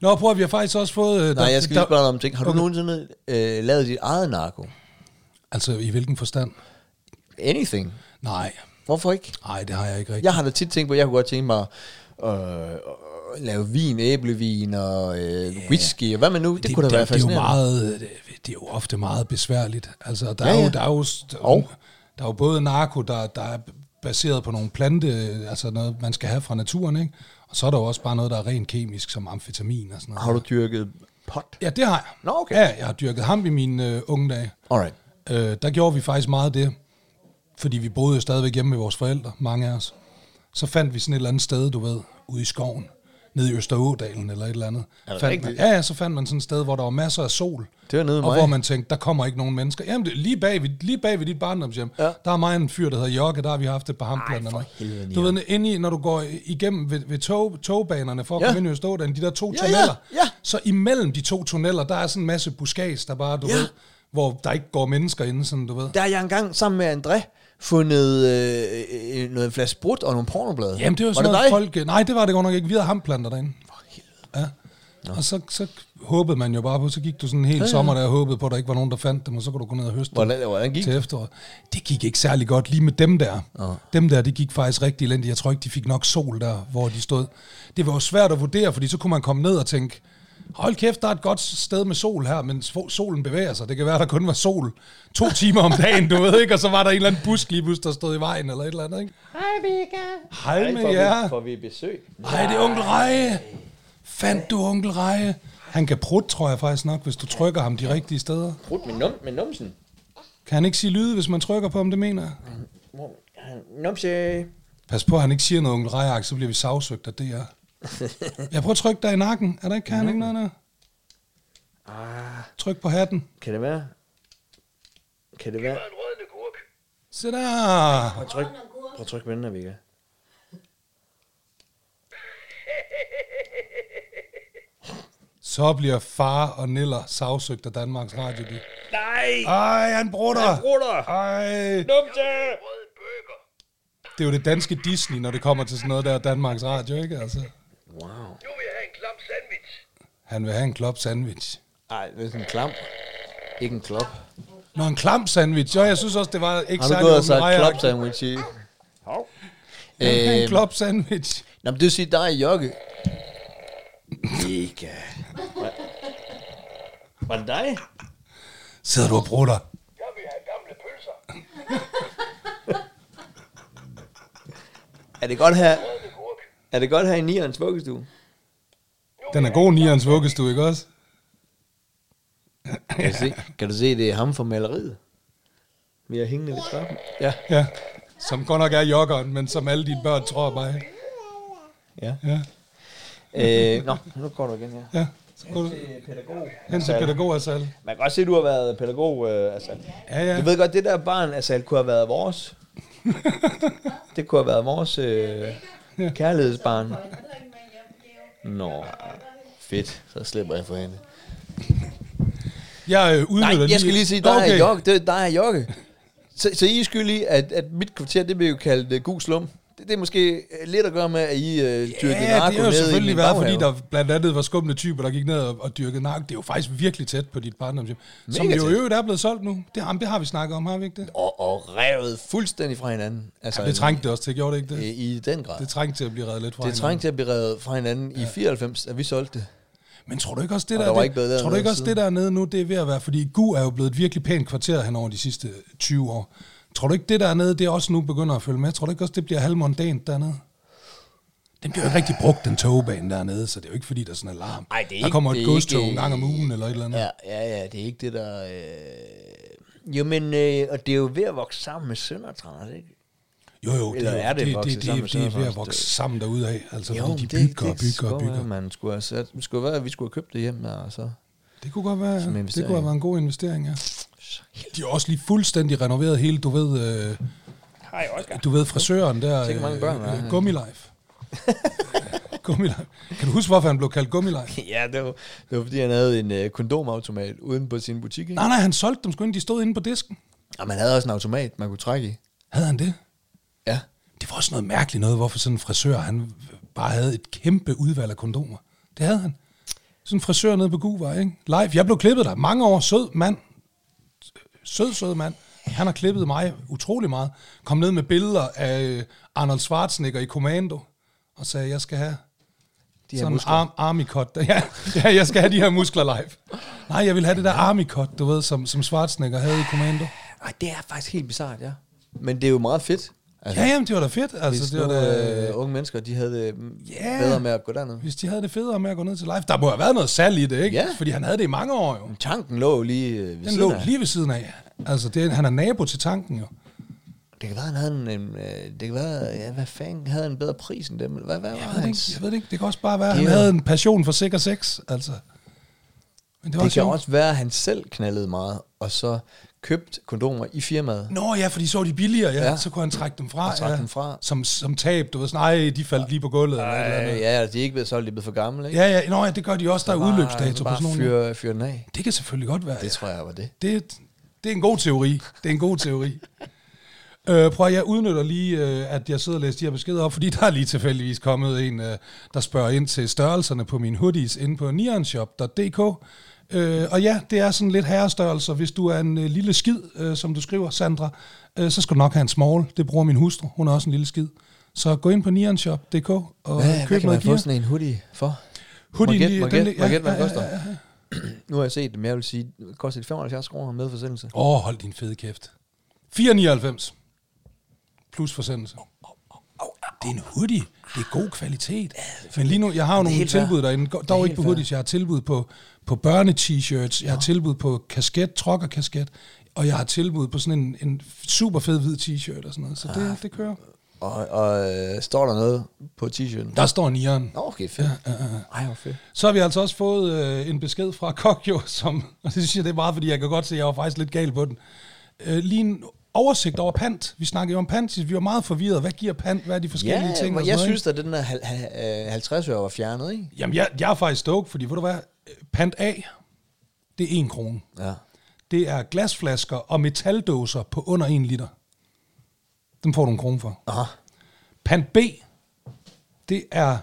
S1: Nå, prøv at vi har faktisk også fået... øh,
S2: Nej,
S1: der-
S2: jeg skal
S1: der-
S2: lige spørge dig om en ting. Har du
S1: Okay.
S2: okay. nogensinde øh, lavet dit eget narko?
S1: Altså, i hvilken forstand?
S2: Anything.
S1: Nej,
S2: Hvorfor ikke?
S1: nej, det har jeg ikke rigtigt.
S2: Jeg har da tit tænkt på, at jeg kunne godt tænke mig øh, at lave vin, æblevin og øh, whisky, og hvad man nu, det, det kunne da være
S1: det, er jo
S2: fascinerende.
S1: meget, det, det er jo ofte meget besværligt. Altså, der, ja,
S2: Ja,
S1: er, jo,
S2: ja.
S1: der, er, jo, der, er, jo,
S2: Og?
S1: der er jo både narko, der, der er baseret på nogle plante, altså noget, man skal have fra naturen, ikke? Og så er der jo også bare noget, der er rent kemisk, som amfetamin og sådan noget.
S2: Har du dyrket pot?
S1: Ja, det har jeg.
S2: Nå, okay.
S1: Ja, jeg har dyrket ham i mine øh, unge dage.
S2: Alright.
S1: Øh, der gjorde vi faktisk meget af det, fordi vi boede jo stadigvæk hjemme med vores forældre, mange af os. Så fandt vi sådan et eller andet sted, du ved, ude i skoven, nede i Østerådalen eller et eller andet.
S2: Er det
S1: fandt man,
S2: rigtigt?
S1: ja, ja, så fandt man sådan et sted, hvor der var masser af sol.
S2: Det var nede ved
S1: Og
S2: mig.
S1: hvor man tænkte, der kommer ikke nogen mennesker. Jamen, det, er lige, bag ved, lige bag ved dit barndomshjem, ja.
S2: Ja.
S1: der er mig en fyr, der hedder Jokke, der har vi haft et par hamplanter.
S2: for
S1: med.
S2: helvede,
S1: Du ved, inde i, når du går igennem ved, ved tog, togbanerne for at ja.
S2: Ja.
S1: komme ind i Østerådalen, de der to
S2: Ja, ja,
S1: tunneller,
S2: ja.
S1: så imellem de to tunneller, der er sådan en masse buskads, der bare, du
S2: Ja.
S1: ved, hvor der ikke går mennesker inde, sådan du ved.
S2: Der har jeg engang sammen med André fundet øh, øh, noget en flaske brut og nogle pornoblade.
S1: Jamen, det var
S2: var
S1: sådan
S2: det
S1: noget,
S2: dig?
S1: folk... øh, Nej, det var det godt nok ikke. Vi havde hamplanter derinde. Ja. Og så, så håbede man jo bare på, så gik du sådan en hel ja, sommer, der og håbede på, at der ikke var nogen, der fandt dem, og så kunne du gå ned og høste dem
S2: Hvordan, hvordan gik
S1: til efteråret. Det gik ikke særlig godt lige med dem der. Oh. Dem der, det gik faktisk rigtig elendigt. Jeg tror ikke, de fik nok sol der, hvor de stod. Det var jo svært at vurdere, fordi så kunne man komme ned og tænke, hold kæft, der er et godt sted med sol her, men svo- solen bevæger sig. Det kan være, der kun var sol to timer om dagen, du ved ikke, og så var der en eller anden bus lige pludselig, der stod i vejen eller et eller andet, ikke? Hej, Mika. Hej med jer.
S2: Får vi besøg?
S1: Hej, det er onkel Reje. Fandt du onkel Reje? Han kan prut, tror jeg faktisk nok, hvis du trykker ham de rigtige steder.
S2: Brut med, num, med numsen.
S1: Kan han ikke sige lyde, hvis man trykker på ham, det mener jeg?
S2: Hvor- Numse.
S1: Pas på, at han ikke siger noget, onkel Rejak, så bliver vi sagsøgt af DR. Jeg prøver at trykke dig i nakken. Er der ikke, kan han ikke noget der?
S2: Ah,
S1: Tryk på hatten.
S2: kan det være? Kan det være?
S1: Se der.
S2: Prøv at tryk, prøv at tryk med den her, Vika.
S1: Så bliver far og Niller sagsøgt af Danmarks Radio. De. Nej! Ej, han bruger dig!
S2: Bruder!
S1: Ej!
S2: Numse!
S1: Det er jo det danske Disney, når det kommer til sådan noget der Danmarks Radio, ikke? Altså,
S2: Wow.
S4: Nu vil jeg have en klam sandwich.
S1: han vil have en klop sandwich.
S2: Ej, det er sådan en klam. Ikke en klop.
S1: Nå, en klam sandwich. Jo, jeg synes også, det var ikke
S2: Har du
S1: særlig
S2: gået og sagt
S1: åbenrejagtigt.
S2: klop sandwich i? Hov.
S1: Han vil have
S2: Øh,
S1: en klop sandwich.
S2: nå, men det vil sige dig, Jokke. Vika. Var det dig?
S1: Sidder du og bruger dig?
S4: Jeg vil have gamle pølser.
S2: Er det godt her?
S4: Rødne gurk.
S2: Er det godt her i Nierens vuggestue?
S1: Den er god, Nierens vuggestue, ikke også?
S2: Kan du se, kan du se det er ham fra maleriet? Vi har hængende ved trappen. Ja.
S1: Ja. Som godt nok er joggeren, men som alle dine børn tror mig.
S2: ja.
S1: Ja,
S2: Øh, nå, nu går du igen her.
S1: ja. Så går du
S2: Pædagog.
S1: hen til pædagogersal.
S2: Man kan godt se, at du har været pædagog, øh, altså.
S1: Ja, ja.
S2: Du ved godt, det der barn, altså, det kunne have været vores. det kunne have været vores øh, kærlighedsbarn. Nå, fedt. Så slipper jeg for hende.
S1: Jeg øh, udnytter
S2: Nej, jeg skal lige sige, der okay. er
S1: Okay.
S2: jokke. Det er dig er jokke. Så, så I er skyld i, at, at mit kvarter, det blev jo kaldt uh, gul slum. Det, det er måske øh, lidt at gøre med, at I uh, dyrkede
S1: Ja, det
S2: narko
S1: har jo
S2: ned i
S1: selvfølgelig
S2: min
S1: været,
S2: baghave.
S1: fordi der blandt andet var skumle typer, der gik ned og, og dyrkede narko. Det er jo faktisk virkelig tæt på dit barndomshjem. Som
S2: Mega
S1: jo i
S2: tæt.
S1: øvrigt er blevet solgt nu. Det, jamen, det har vi snakket om, har vi ikke det?
S2: Og, og revet fuldstændig fra hinanden. Altså,
S1: Det trængte det også til, gjorde det ikke
S2: i,
S1: det?
S2: i den grad.
S1: Det trængte til at blive reddet lidt fra
S2: Det trængte til at blive revet fra hinanden ja. i 94, at vi solgte det.
S1: hinanden. Men tror du ikke også, det
S2: Og
S1: der,
S2: der var
S1: det,
S2: ikke blevet lavet
S1: tror du ikke
S2: noget
S1: også det
S2: siden.
S1: der nede nu, det er ved at være, fordi Gu er jo blevet et virkelig pænt kvarter hen over de sidste 20 år. Tror du ikke, det der nede, det er også nu begynder at følge med? Tror du ikke også, det bliver halvmondant dernede? Den bliver jo ikke rigtig brugt, den togbane dernede, så det er jo ikke, fordi der er sådan en alarm.
S2: Ej, det er
S1: der
S2: ikke-
S1: kommer
S2: det
S1: et
S2: er
S1: godstog
S2: ikke-
S1: en gang om ugen eller et eller andet.
S2: Ja, ja, ja, det er ikke det, der... Øh... Jo, men øh, og det er jo ved at vokse sammen med Søndertranders, ikke?
S1: Jo, jo,
S2: Eller
S1: det,
S2: er det
S1: det,
S2: vokset
S1: det, det,
S2: sammen
S1: det, det er
S2: med
S1: ved at
S2: Sønderjylland?
S1: vokse sammen derude af. Altså, jo,
S2: men
S1: fordi de bygger og bygger og
S2: skulle være,
S1: bygger.
S2: Man skulle have sat, det skulle være, at vi skulle have købt det hjem, der, og så...
S1: Det kunne godt være,
S2: Som
S1: det
S2: investering.
S1: kunne have været en god investering, ja. De har også lige fuldstændig renoveret hele, du ved, øh,
S2: Hej, Oscar.
S1: du ved frisøren der. øh,
S2: Tænk, hvor mange børn der er.
S1: Gummilife. Gummilife. Kan du huske, hvorfor han blev kaldt Gummilife?
S2: Ja, det var, det var fordi, han havde en øh, kondomautomat uden på sin butik, ikke?
S1: Nej, nej, han solgte dem sgu ind, de stod inde på disken.
S2: Og man havde også en automat, man kunne trække i.
S1: Havde han det?
S2: Ja.
S1: Det var også noget mærkeligt noget, hvorfor sådan en frisør, han bare havde et kæmpe udvalg af kondomer. Det havde han. Sådan en frisør nede på Guvej, ikke? Live. Jeg blev klippet der mange år. Sød mand. Sød, sød mand. Han har klippet mig utrolig meget. Kom ned med billeder af øh, Arnold Schwarzenegger i Commando og sagde, jeg skal have
S2: De
S1: de
S2: her
S1: sådan en
S2: muskler.
S1: arm, army cut. Ja, ja, jeg skal have de her muskler live. Nej, jeg vil have det der army cut, du ved, som, som Schwarzenegger havde i Commando.
S2: Ej, det er faktisk helt bizart, ja. Men det er jo meget fedt. Altså,
S1: Ja, jamen, det var da fedt. Altså,
S2: Hvis
S1: det var
S2: nu,
S1: da...
S2: øh, unge mennesker, de havde det
S1: Ja.
S2: yeah. bedre med at gå derned.
S1: Hvis de havde det federe med at gå ned til live. Der må have været noget salg i det, ikke?
S2: Ja.
S1: Fordi han havde det i mange år jo.
S2: Tanken lå jo lige øh, ved
S1: Den
S2: siden
S1: lå
S2: af.
S1: lige ved siden af. Altså, det, er- han er nabo til tanken jo.
S2: Det kan være, han havde en... en øh, det kan være, ja, hvad fanden, havde han bedre pris end dem? eller Hvad, hvad
S1: Jeg
S2: var
S1: ved, det
S2: hans?
S1: ikke, jeg ved det ikke. Det kan også bare være, at
S2: Det
S1: han
S2: er-
S1: havde en passion for sikker sex. Altså. Men det var
S2: Det
S1: også,
S2: kan
S1: jo-
S2: også være, at han selv knaldede meget, og så købte kondomer i firmaet.
S1: Nå ja, fordi så var de billigere, ja. ja.
S2: Ja.
S1: Så kunne han trække dem fra.
S2: Og trække
S1: ja.
S2: dem fra.
S1: Som, som tab, du ved. Sådan, nej, de faldt lige på gulvet. Eller et eller
S2: Øh,
S1: andet.
S2: ja, de er ikke blevet solgt, de er blevet for gamle, ikke?
S1: Ja, ja. Nå ja, det gør de også. Der er udløbsdato på
S2: bare
S1: sådan nogle.
S2: fyre, fyre den af.
S1: Det kan selvfølgelig godt være.
S2: Det tror jeg var det.
S1: det, det er en god teori. Det er en god teori. Øh, prøv at jeg udnytter lige, øh, at jeg sidder og læser de her beskeder op, fordi der er lige tilfældigvis kommet en, øh, der spørger ind til størrelserne på mine hoodies inde på neonshop.dk. Øh, og ja, det er sådan lidt herrestørrelser. Hvis du er en øh, lille skid, øh, som du skriver, Sandra, øh, så skal du nok have en small. Det bruger min hustru. Hun er også en lille skid. Så gå ind på neonshop.dk og
S2: Hvad, hvad
S1: køb
S2: kan
S1: noget
S2: man
S1: gear.
S2: få sådan en hoodie for?
S1: Hoodien,
S2: Må
S1: de-
S2: jeg gætte- må jeg
S1: den
S2: gætte-
S1: lig-
S2: må jeg
S1: ja,
S2: gætte, hvad den
S1: ja,
S2: koster?
S1: ja, ja.
S2: Nu har jeg set dem, jeg vil sige, koster det 75 kroner med forsendelse?
S1: Åh, oh, hold din fede kæft. 4,99. Plus forsendelse. Det er en hoodie. Det er god kvalitet. Men lige nu, jeg har jo nogle
S2: helt fair.
S1: tilbud derinde. Go- Dog
S2: helt
S1: ikke på
S2: fair.
S1: hoodies. Jeg har tilbud på, på børne-t-shirts. Jeg har tilbud på kasket,
S2: Ah.
S1: trokkerkasket. Og jeg har tilbud på sådan en, en super fed hvid t-shirt og sådan noget. Så det, det kører.
S2: Og, og øh, står der noget på t-shirten?
S1: Der står nieren.
S2: Nå, okay, fedt. Ja, ja, ja. Ej, hvor fedt.
S1: Så har vi altså også fået øh, en besked fra Kok, jo, som, og det synes jeg, det er meget, fordi jeg kan godt se, at jeg var faktisk lidt gal på den. Øh, lige en oversigt over pant. Vi snakkede jo om pant, sidst. vi var meget forvirrede. Hvad giver pant? Hvad er de forskellige
S2: Ja,
S1: ting?
S2: ting
S1: og
S2: jeg
S1: sådan noget,
S2: synes at den der hal- ha- øh, 50 øre var fjernet, ikke?
S1: ikke? Jamen, jeg, jeg er faktisk stoked, fordi ved du hvad? Pant A, det er en krone.
S2: Ja.
S1: Det er glasflasker og metaldåser på under en liter. Dem får du en krone for.
S2: Aha.
S1: Pant B, det er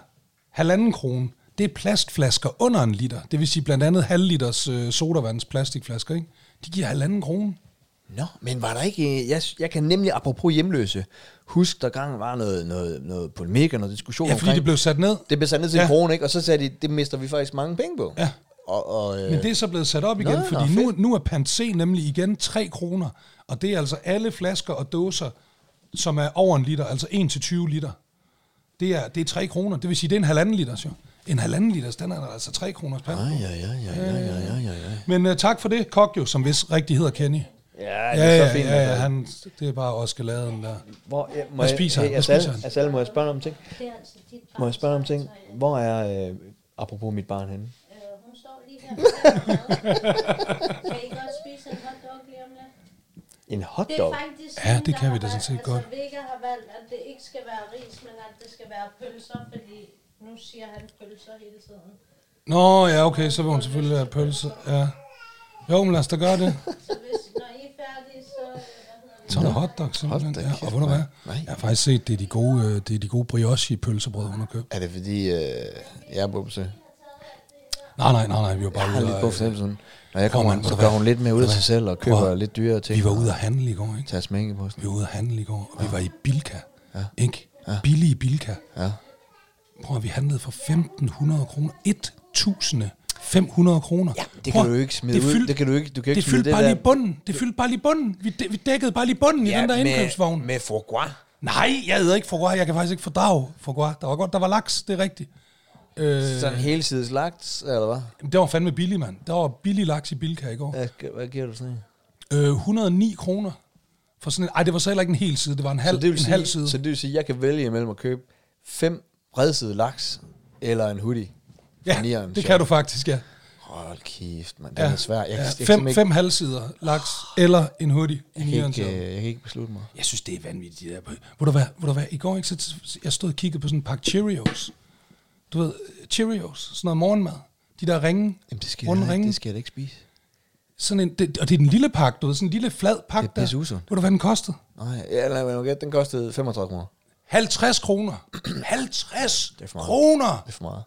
S1: halvanden krone. Det er plastflasker under en liter. Det vil sige blandt andet halvliters øh, sodavands plastikflasker, ikke? De giver halvanden krone.
S2: Nå, men var der ikke... øh, Jeg, jeg kan nemlig, apropos hjemløse, huske, der gang var noget, noget, noget polemik og noget diskussion
S1: Ja, fordi
S2: omkring-
S1: det blev sat ned.
S2: Det blev sat ned til ja.
S1: Ja.
S2: en krone, ikke? Og så sagde de, det mister vi faktisk mange penge på.
S1: Ja.
S2: Og, og, øh,
S1: Men det er så blevet sat op igen,
S2: Nå,
S1: Nå,
S2: nå,
S1: fordi nu, nu er pant C nemlig igen 3 kroner. Og det er altså alle flasker og dåser, som er over en liter, altså 1-20 liter. Det er, det er 3 kroner. Det vil sige, det er en halvanden liters jo. En halvanden liters, den er der altså 3 kroners pant. på.
S2: Ej, ja, ja, ja, ja, ja, ja, ja, ja.
S1: Men uh, tak for det, Kok jo, som vist rigtig hedder Kenny.
S2: Ja,
S1: Ja, ja, ja, ja,
S2: altså.
S1: han, det er bare også galaden der.
S2: Hvor, ja, må
S1: Hvad spiser
S2: jeg,
S1: han?
S2: hey,
S1: Hvad
S2: Asal,
S1: spiser han?
S2: Asal, må jeg spørge om ting?
S5: Det er altså dit barn.
S2: Må jeg spørge om ting?
S5: så- så-
S2: Hvor er, øh, apropos mit barn henne?
S5: Øh, hun står lige her. og laver mad. kan I godt spise en hotdog lige om lidt?
S2: En
S5: Det er
S2: hotdog?
S5: faktisk
S1: Ja,
S5: hende,
S1: det
S5: der
S1: kan
S5: har
S1: vi da sådan
S5: valgt-
S1: set godt.
S5: Altså, Vega har valgt, at det ikke skal være ris, men at det skal være pølser, fordi nu siger han pølser hele tiden.
S1: Nå, ja, okay, så vil hun selvfølgelig have pølse. Ja. Jo, men lad os da gøre det.
S5: Så hvis, når I er færdige, så... øh, hvad hedder det?
S1: Så en hotdog simpelthen.
S2: Hold da
S1: ja,
S2: kæft,
S1: og ved du hvad?
S2: mand. Nej.
S1: Jeg har faktisk set, det er de gode, øh, det er de gode brioche pølsebrød, hun har købt.
S2: Er det fordi, øh, jeg er bubse?
S1: Nej, nej, nej, nej, vi var
S2: Jeg
S1: bare
S2: har
S1: ude
S2: lidt på
S1: og,
S2: fornemmelsen. Når jeg
S1: Prøv,
S2: kommer,
S1: mand, ved
S2: så
S1: du
S2: gør
S1: hvad?
S2: hun lidt mere ud af
S1: Ved du
S2: sig selv og
S1: Prøv,
S2: køber lidt dyrere ting.
S1: vi var ude at handle i går, ikke?
S2: Tager smænke på sådan.
S1: Vi var ude at handle i går, og vi var i Bilka, ikke? Billige Bilka.
S2: Ja.
S1: Prøv at vi handlede for 1.500 kroner. 1.500 kroner. Ja,
S2: det kan du jo ikke smide ud. Det kan du ikke- du kan ikke
S1: det
S2: smide
S1: fyldte
S2: det
S1: bare
S2: der-
S1: lige bunden. Det fyldte bare lige bunden. Vi, dæ- vi dækkede bare lige bunden ja, i den der indkøbsvogn.
S2: Med foie gras.
S1: Nej, jeg æder ikke foie. Jeg kan faktisk ikke fordrage foie. Der var godt, der var laks, det er rigtigt. Øh,
S2: Sådan hele sides lagt, eller hvad?
S1: det var fandme billig, mand. Der var billig laks i Bilka i går.
S2: Hvad gi- Hvad giver du sådan en?
S1: Øh, 109 kroner. For sådan en, ej, det var så heller ikke en hel side. Det var en halv,
S2: Så det
S1: en
S2: vil sige,
S1: halv side.
S2: Så det vil sige, at jeg kan vælge imellem at købe fem bredsidede laks eller en hoodie.
S1: ja,
S2: nieren,
S1: det
S2: så.
S1: kan du faktisk, ja.
S2: Hold kæft, mand. Den
S1: ja.
S2: er svær. Jeg,
S1: ja.
S2: jeg, kan
S1: Fem,
S2: simpelthen
S1: fem halvsider laks eller en hoodie. i
S2: ikke, jeg,
S1: nieren
S2: kan
S1: til.
S2: ikke, øh, jeg kan ikke beslutte mig.
S1: Jeg synes, det er vanvittigt. Det der. Ved du hvad, ved du hvad, i går ikke, så jeg stod og kiggede på sådan en pakke Cheerios. Du ved, Cheerios, sådan noget morgenmad. De der ringe,
S2: Jamen, det skal,
S1: runde
S2: jeg,
S1: ringe.
S2: det skal jeg da ikke spise.
S1: Sådan en, det, og det er den lille pakke, du ved, sådan en lille flad pakke
S2: Det er pisseusundt.
S1: der. Ved du, hvad den kostede?
S2: Nej, ja, lad mig nu gætte. Den kostede 35 kroner.
S1: 50 kroner. 50
S2: Det er for meget.
S1: kroner!
S2: Det er for meget.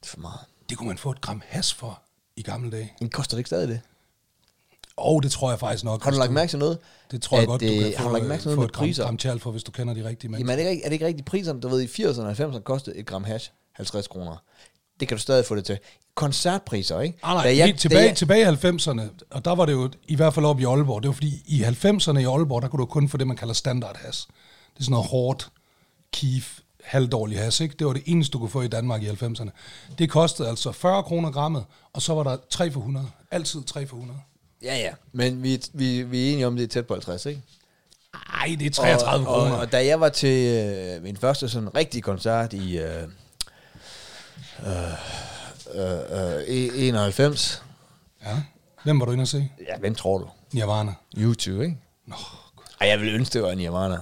S2: Det er for meget.
S1: Det kunne man få et gram has for i gamle dage.
S2: Men koster det ikke stadig det?
S1: Og det tror jeg faktisk nok.
S2: Har du
S1: hvis
S2: lagt mærke til noget?
S1: Det tror jeg
S2: at,
S1: godt, du
S2: øh,
S1: kan
S2: Har
S1: få,
S2: du lagt
S1: øh,
S2: mærke til
S1: få
S2: noget med
S1: et gram,
S2: priser?
S1: gram tjal for, hvis du kender de rigtige
S2: Jamen
S1: mennesker.
S2: er det, ikke, er det ikke rigtigt priserne? Du ved, i 80'erne og 90'erne kostede et gram hash 50 kroner. Det kan du stadig få det til. Koncertpriser, ikke?
S1: Ah, nej,
S2: Da
S1: jeg, helt tilbage,
S2: da
S1: jeg... tilbage i 90'erne, og der var det jo i hvert fald op i Aalborg, det var fordi i 90'erne i Aalborg, der kunne du kun få det, man kalder standard has. Det er sådan noget hårdt, kif, halvdårlig has, ikke? Det var det eneste, du kunne få i Danmark i 90'erne. Det kostede altså 40 kroner grammet, og så var der 3 for 100. Altid 3 for 100.
S2: Ja, ja. Men vi, vi, vi er enige om, det er tæt på 50, ikke?
S1: Ej, det er 33
S2: og,
S1: kroner.
S2: Og, og da jeg var til øh, min første sådan rigtige koncert i øh, øh, øh, øh, 91,
S1: Ja. Hvem var du inde at se?
S2: ja, hvem tror du?
S1: Nirvana.
S2: YouTube, ikke?
S1: Nå,
S2: Ej, jeg ville ønske, det var Nirvana.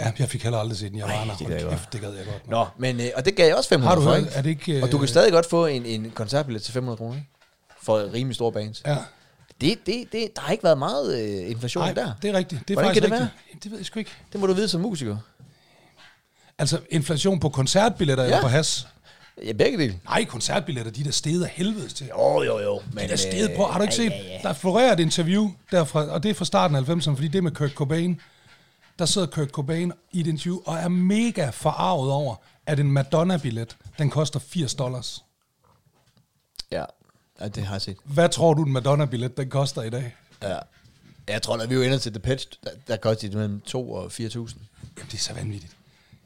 S1: ja, jeg fik heller aldrig set Nirvana.
S2: Ej, det gad jeg
S1: Hold
S2: godt.
S1: kæft, det gad jeg godt.
S2: Nå, men, øh, og det gav jeg også 500
S1: Har du
S2: for,
S1: hørt- er det ikke, øh,
S2: Og du kan stadig godt få en, en koncertbillet til 500 kroner, ikke? For rimelig store bands.
S1: Ja.
S2: Det, det, det, der har ikke været meget øh, inflation
S1: Nej,
S2: der.
S1: det er rigtigt. Det er
S2: Hvordan
S1: faktisk
S2: kan det
S1: rigtigt. Jamen, Det ved jeg sgu ikke.
S2: Det må du vide som musiker.
S1: Altså, inflation på koncertbilletter ja.
S2: Ja.
S1: eller på has?
S2: Ja, begge dele.
S1: Nej, koncertbilletter, de der steget af helvedes til. De
S2: Jo, jo, jo. Men, øh,
S1: der steget på, har du ikke
S2: ja,
S1: set?
S2: Ja, ja.
S1: Der florerer et interview, derfra, og det er fra starten af 90'erne, fordi det er med Kurt Cobain. Der sidder Kurt Cobain i et interview og er mega forarvet over, at en Madonna-billet, den koster 80 dollars.
S2: ja. ja, det har jeg set.
S1: Hvad tror du, en Madonna-billet, den koster i dag?
S2: Ja. Jeg tror, at vi er jo ender til The Pitch, der, der koster det mellem 2 og 4.000.
S1: Jamen, det er så vanvittigt.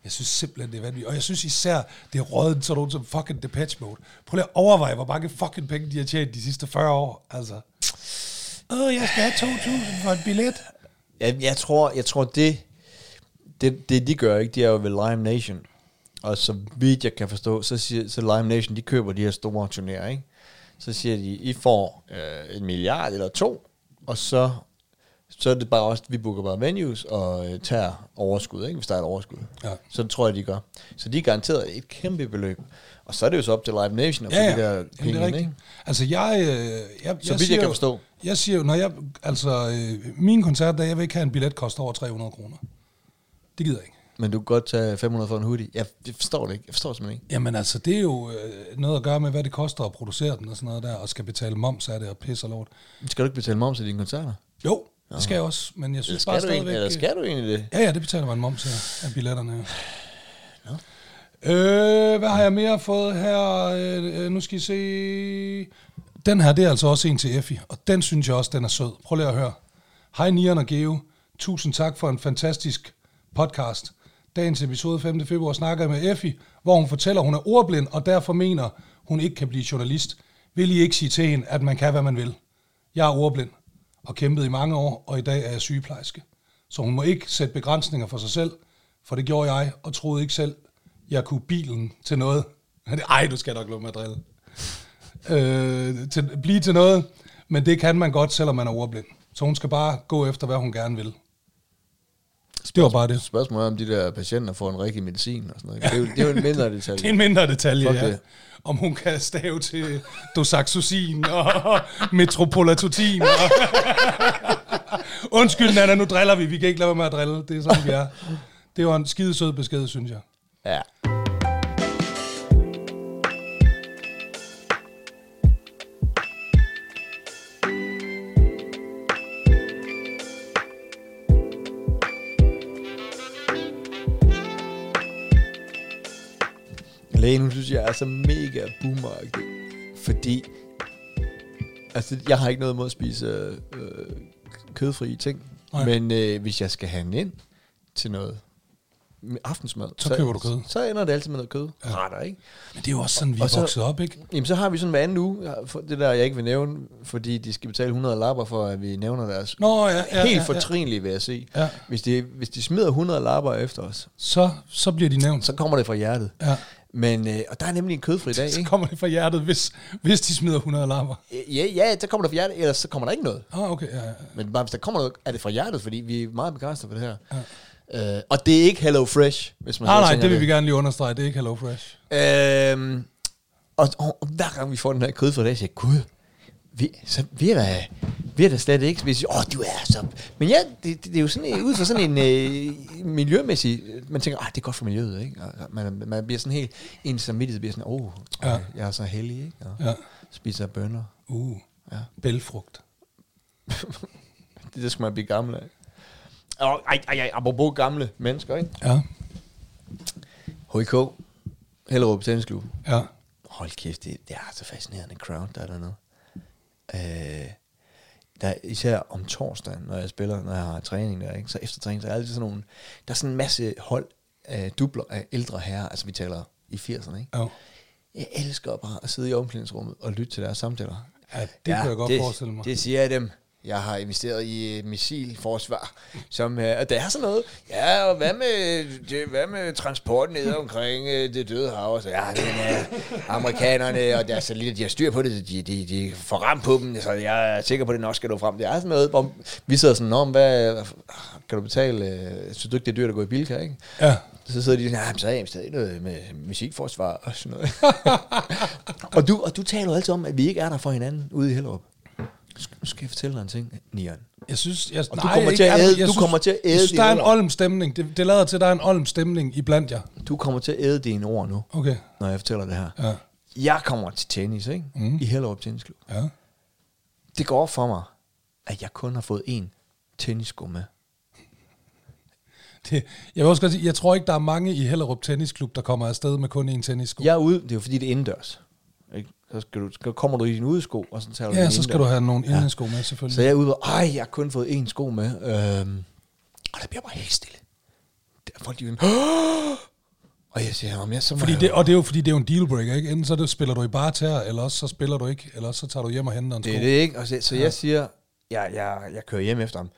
S1: Jeg synes simpelthen, det er vanvittigt. Og jeg synes især, det er rådet sådan nogen som fucking Depeche Mode. Prøv lige at overveje, hvor mange fucking penge, de har tjent de sidste 40 år. Altså. Åh, jeg skal have 2.000 for en billet.
S2: Jeg, jeg, tror, jeg tror, det, det, det de gør, ikke, de er jo ved Lime Nation. Og så vidt jeg kan forstå, så, siger, så Lime Nation, de køber de her store turneringer, ikke? Så siger de, I får øh, en milliard eller to, og så, så er det bare også, vi booker bare venues og øh, tager overskud, ikke? Hvis der er et overskud.
S1: Ja.
S2: Så det tror jeg, de gør. Så de er garanteret et kæmpe beløb. Og så er det jo så op til Live Nation og ja,
S1: Ja, ja.
S2: ja. de der
S1: Jamen, det
S2: penge,
S1: er rigtigt.
S2: ikke?
S1: Altså, jeg... Øh, jeg jeg,
S2: vidt jeg
S1: siger
S2: kan
S1: jo-
S2: forstå.
S1: Jeg siger jo, når jeg... Altså, øh, min koncert, der jeg vil ikke have en billet, koster over 300 kroner. Det gider jeg ikke.
S2: Men du kan godt tage 500 for en hoodie. Jeg, jeg forstår det ikke. Jeg forstår det simpelthen ikke.
S1: Jamen altså, det er jo øh, noget at gøre med, hvad det koster at producere den og sådan noget der, og skal betale moms af det og pisse og lort.
S2: Skal du ikke betale moms til dine koncerter?
S1: Jo, det skal jeg også, men jeg synes
S2: skal
S1: bare
S2: du egentlig,
S1: stadigvæk...
S2: eller
S1: øh,
S2: skal du egentlig det?
S1: Ja, ja, det betaler man moms af, af billetterne. Ja. Øh, hvad har jeg mere fået her? Øh, øh, nu skal I se... Den her, det er altså også en til Effie, og den synes jeg også, den er sød. Prøv lige at høre. Hej Nian og Geo. Tusind tak for en fantastisk podcast. Dagens episode 5. februar snakker jeg med Effie, hvor hun fortæller, at hun er ordblind, og derfor mener, hun ikke kan blive journalist. Vil I ikke sige til hende, at man kan, hvad man vil? Jeg er ordblind og kæmpet i mange år, og i dag er jeg sygeplejerske. Så hun må ikke sætte begrænsninger for sig selv, for det gjorde jeg, og troede ikke selv, jeg kunne bilen til noget. Men det- Ej, du skal nok lade mig at drille. Øh, til, blive til noget, men det kan man godt, selvom man er ordblind. Så hun skal bare gå efter, hvad hun gerne vil. Det var bare det.
S2: Spørgsmålet er, om de der patienter får en rigtig medicin og sådan noget. Det er jo, det er jo en mindre detalje.
S1: Det er en mindre detalje,
S2: Fuck
S1: ja.
S2: det.
S1: Om hun kan stave til dosaxosin og metropolitotin. Og Undskyld, Nana, nu driller vi. Vi kan ikke lade være med at drille. Det er sådan, vi er. Det var en skide sød besked, synes jeg.
S2: Ja. Lægen, hun synes, jeg er så mega boomer fordi altså, jeg har ikke noget imod at spise øh, øh, kødfrie ting,
S1: Nej.
S2: men øh, hvis jeg skal have den ind til noget med aftensmad.
S1: Så køber du kød.
S2: Så ender det altid med noget kød. Ja. Retter, ikke?
S1: Men det er jo også sådan, vi
S2: Og
S1: er
S2: så-
S1: vokset op, ikke?
S2: Jamen, så har vi sådan hver anden uge, jeg har fået det der, jeg ikke vil nævne, fordi de skal betale 100 lapper for, at vi nævner deres
S1: Nå, ja, ja,
S2: helt
S1: ja, ja.
S2: fortrinlige, vil jeg sige.
S1: Ja.
S2: Hvis, de, hvis de smider 100 lapper efter os,
S1: Så, så bliver de nævnt.
S2: så kommer det fra hjertet.
S1: Ja.
S2: Men, øh, og der er nemlig en kødfri dag,
S1: Så
S2: ikke?
S1: kommer det fra hjertet, hvis, hvis de smider 100 alarmer.
S2: Ja, ja, så kommer det fra hjertet, ellers så kommer der ikke noget.
S1: Ah, okay. Ja, ja.
S2: Men bare, hvis der kommer noget, er det fra hjertet, fordi vi er meget begejstrede for det her. Ja. Øh, og det er ikke Hello Fresh, hvis man
S1: Nej,
S2: sidder og
S1: nej,
S2: tænker
S1: det vil vi gerne lige understrege. Det er ikke HelloFresh.
S2: Øhm, og, og, og hver gang vi får den her kød for dag, siger jeg, gud, vi, så vi er da, vi er da slet ikke spise. Åh, du er så... Men ja, det, det, det er jo sådan, en- ud fra sådan en øh, miljømæssig... Man tænker, ah, det er godt for miljøet, ikke? Og man, man bliver sådan helt... En samvittighed bliver sådan, åh, oh, ja.
S1: Ja.
S2: jeg er så heldig, ikke? Og ja.
S1: Ja.
S2: spiser bønner.
S1: Uh,
S2: Ja.
S1: bælfrugt.
S2: Det, det skal man blive gammel af. Og, ej, ej, ej, apropos gamle mennesker, ikke?
S1: Ja,
S2: HK, Hellerup Tennisklub.
S1: ja.
S2: Hold kæft, det, det er så fascinerende crowd, der er dernede. Øh, der er især om torsdagen, når jeg spiller, når jeg har træning der, ikke? så efter træning, så er der altid sådan nogle, der er sådan en masse hold af dubler af ældre herrer, altså vi taler i 80'erne, ikke?
S1: ja.
S2: Jeg elsker bare at sidde i omklædningsrummet og lytte til deres samtaler.
S1: Ja, det ja, kunne jeg godt
S2: det,
S1: forestille mig.
S2: Det siger jeg dem. Jeg har investeret i øh, missilforsvar, som, øh, og der er sådan noget. Ja, og hvad med, det, hvad med transporten ned omkring øh, det døde hav? Og Så, ja, men, øh, amerikanerne og deres satellitter, de har styr på det, de, de, de får ramt på dem, så jeg er sikker på, at det nok skal nå frem. Det er sådan noget, hvor vi sidder sådan, om, hvad øh, kan du betale? Øh, synes du ikke, det er dyrt at gå i Bilka, ikke?
S1: Ja.
S2: Så sidder de sådan, "Ah, men så er jeg stadig noget med musikforsvar og sådan noget. og, du, og du taler jo altid om, at vi ikke er der for hinanden ude i Hellerup. Sk- Nu skal jeg fortælle dig en ting, Nian.
S1: Jeg synes, jeg,
S2: Og du kommer til at
S1: andet.
S2: æde-
S1: Jeg
S2: du kommer til at æde
S1: jeg synes,
S2: din
S1: der er en
S2: ord.
S1: olm stemning. Det, det lader til, at der er en olm stemning iblandt jer.
S2: Du kommer til at æde dine ord nu,
S1: Okay.
S2: når jeg fortæller det her.
S1: Ja.
S2: Jeg kommer til tennis, ikke? Mm. I Hellerup Tennisklub.
S1: Ja.
S2: Det går op for mig, at jeg kun har fået én tennissko med.
S1: Det, jeg vil også godt sige, jeg tror ikke, der er mange i Hellerup Tennisklub, der kommer afsted med kun én tennissko.
S2: Jeg er ude, det er jo fordi, det er indendørs. Ikke? Så skal du, skal, kommer du i din udesko, og så tager du
S1: ja
S2: din
S1: så skal
S2: indendørs.
S1: du have nogle indensko med, selvfølgelig.
S2: Så jeg er ude og, ej, jeg har kun fået én sko med. Øhm, og der bliver bare helt stille. Der er folk, de er sådan, "Åh!" og jeg siger, om jeg så må
S1: fordi
S2: jeg-
S1: det, og det er jo fordi, det er jo en dealbreaker, ikke? Enten så det, spiller du i barter, eller også så spiller du ikke, eller også så tager du hjem og henter en sko.
S2: det er det ikke. Og så, så jeg siger, jeg, jeg, jeg kører hjem efter ham.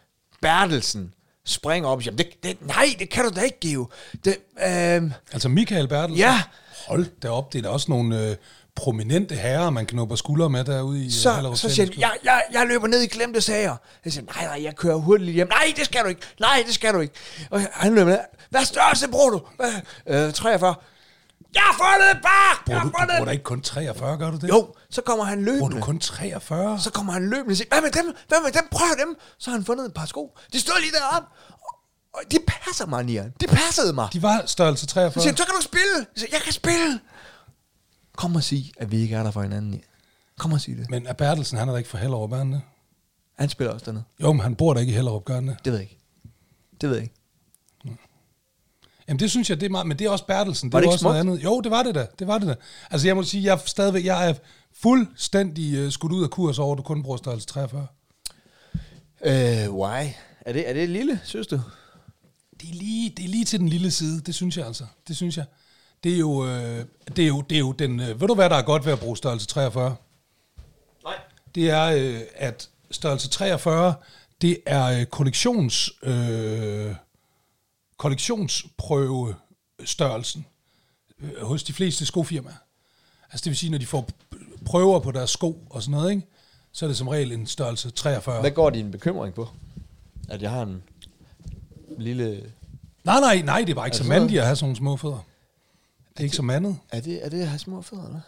S2: Bertelsen, springer op og siger, det, det, nej, det kan du da ikke give. Det, øh,
S1: Altså Michael Bertelsen?
S2: Ja.
S1: Hold da op, det er da også nogle øh, prominente herrer, man knupper skuldre med derude i øh,
S2: så,
S1: Hellerup
S2: så siger han,
S1: Tennisklub.
S2: jeg, jeg, jeg løber ned i glemte sager. Jeg siger, nej, nej, jeg kører hurtigt hjem. Nej, det skal du ikke. Nej, det skal du ikke. Og han løber ned. Hvad størrelse bruger du? Hvad, øh, 43. Jeg har fundet et par!
S1: Bruger du,
S2: Jeg har
S1: du bruger da
S2: fundet et
S1: ikke kun 43, gør du det?
S2: Jo, så kommer han løbende.
S1: Bruger du kun 43?
S2: Så kommer han løbende og siger, hvad med dem? Hvad med dem? Prøv dem. Så har han fundet et par sko. De stod lige deroppe. Og de passer mig, Nian. De passede mig.
S1: De var størrelse
S2: Så
S1: 43.
S2: siger han, så kan du spille. Jeg siger, jeg kan spille. Kom og sig, at vi ikke er der for hinanden, Nian. Kom og sig det.
S1: Men er Bertelsen, han er da ikke fra Hellerup, er han det?
S2: Han spiller også dernede.
S1: Jo, men han bor da ikke i Hellerup, gør han det?
S2: Det ved jeg ikke. Det ved jeg ikke.
S1: Jamen det synes jeg, det er meget, men det er også Bertelsen.
S2: Var det
S1: er
S2: ikke
S1: også noget andet. Jo, det var det da. Det var det da. Altså jeg må sige, jeg er stadigvæk, jeg er fuldstændig øh, skudt ud af kurs over, at du kun bruger størrelse 43.
S2: Øh, why? Er det, er det lille, synes du?
S1: Det er, lige, det er lige til den lille side, det synes jeg altså. Det synes jeg. Det er jo, øh, det er jo, det er jo den... Øh, ved du, hvad der er godt ved at bruge størrelse 43?
S3: Nej.
S1: Det er, øh, at størrelse 43, det er øh, kollektions, øh, kollektionsprøve størrelsen øh, hos de fleste skofirmaer. Altså det vil sige, når de får prøver på deres sko og sådan noget, ikke? så er det som regel en størrelse 43.
S2: Hvad går din bekymring på? At jeg har en lille...
S1: Nej, nej, nej, det er bare ikke
S2: Er det
S1: så
S2: sådan
S1: mandigt at have sådan nogle små fødder. Det er ikke så mandet.
S2: Er det, er det at have små fødder, eller?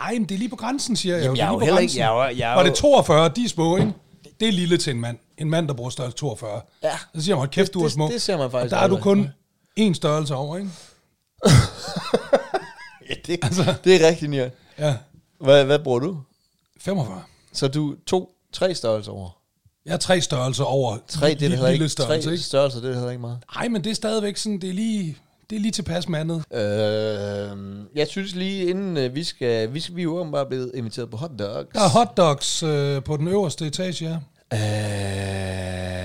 S1: Nej, men det er lige på grænsen, siger jeg.
S2: Jamen,
S1: Det
S2: jeg er
S1: lige
S2: jo
S1: på
S2: heller ikke-
S1: grænsen.
S2: jeg er jo- jeg er
S1: Var
S2: jo-
S1: det 42, de er små, ikke? Det er lille til en mand. En mand, der bruger størrelse 42.
S2: Ja.
S1: Så siger man, hold kæft, du
S2: Det-
S1: er små.
S2: det ser man faktisk
S1: Og der er du
S2: aldrig.
S1: kun én størrelse over, ikke?
S2: Ja, det, altså. det er rigtigt, Nian.
S1: Ja,
S2: Hvad, hvad bruger du?
S1: 45.
S2: Så du to, tre størrelser over?
S1: Jeg er tre størrelser over
S2: Tre, det er
S1: lille,
S2: heller ikke,
S1: lille størrelse,
S2: tre
S1: ikke?
S2: størrelser, det er heller ikke meget.
S1: Nej, men det er stadigvæk sådan, det er lige, det er lige tilpas mandet.
S2: Øh, jeg synes lige, inden øh, vi skal... Vi, skal, vi er jo åbenbart blevet inviteret på hotdogs.
S1: Der er hotdogs øh, på den øverste etage, ja.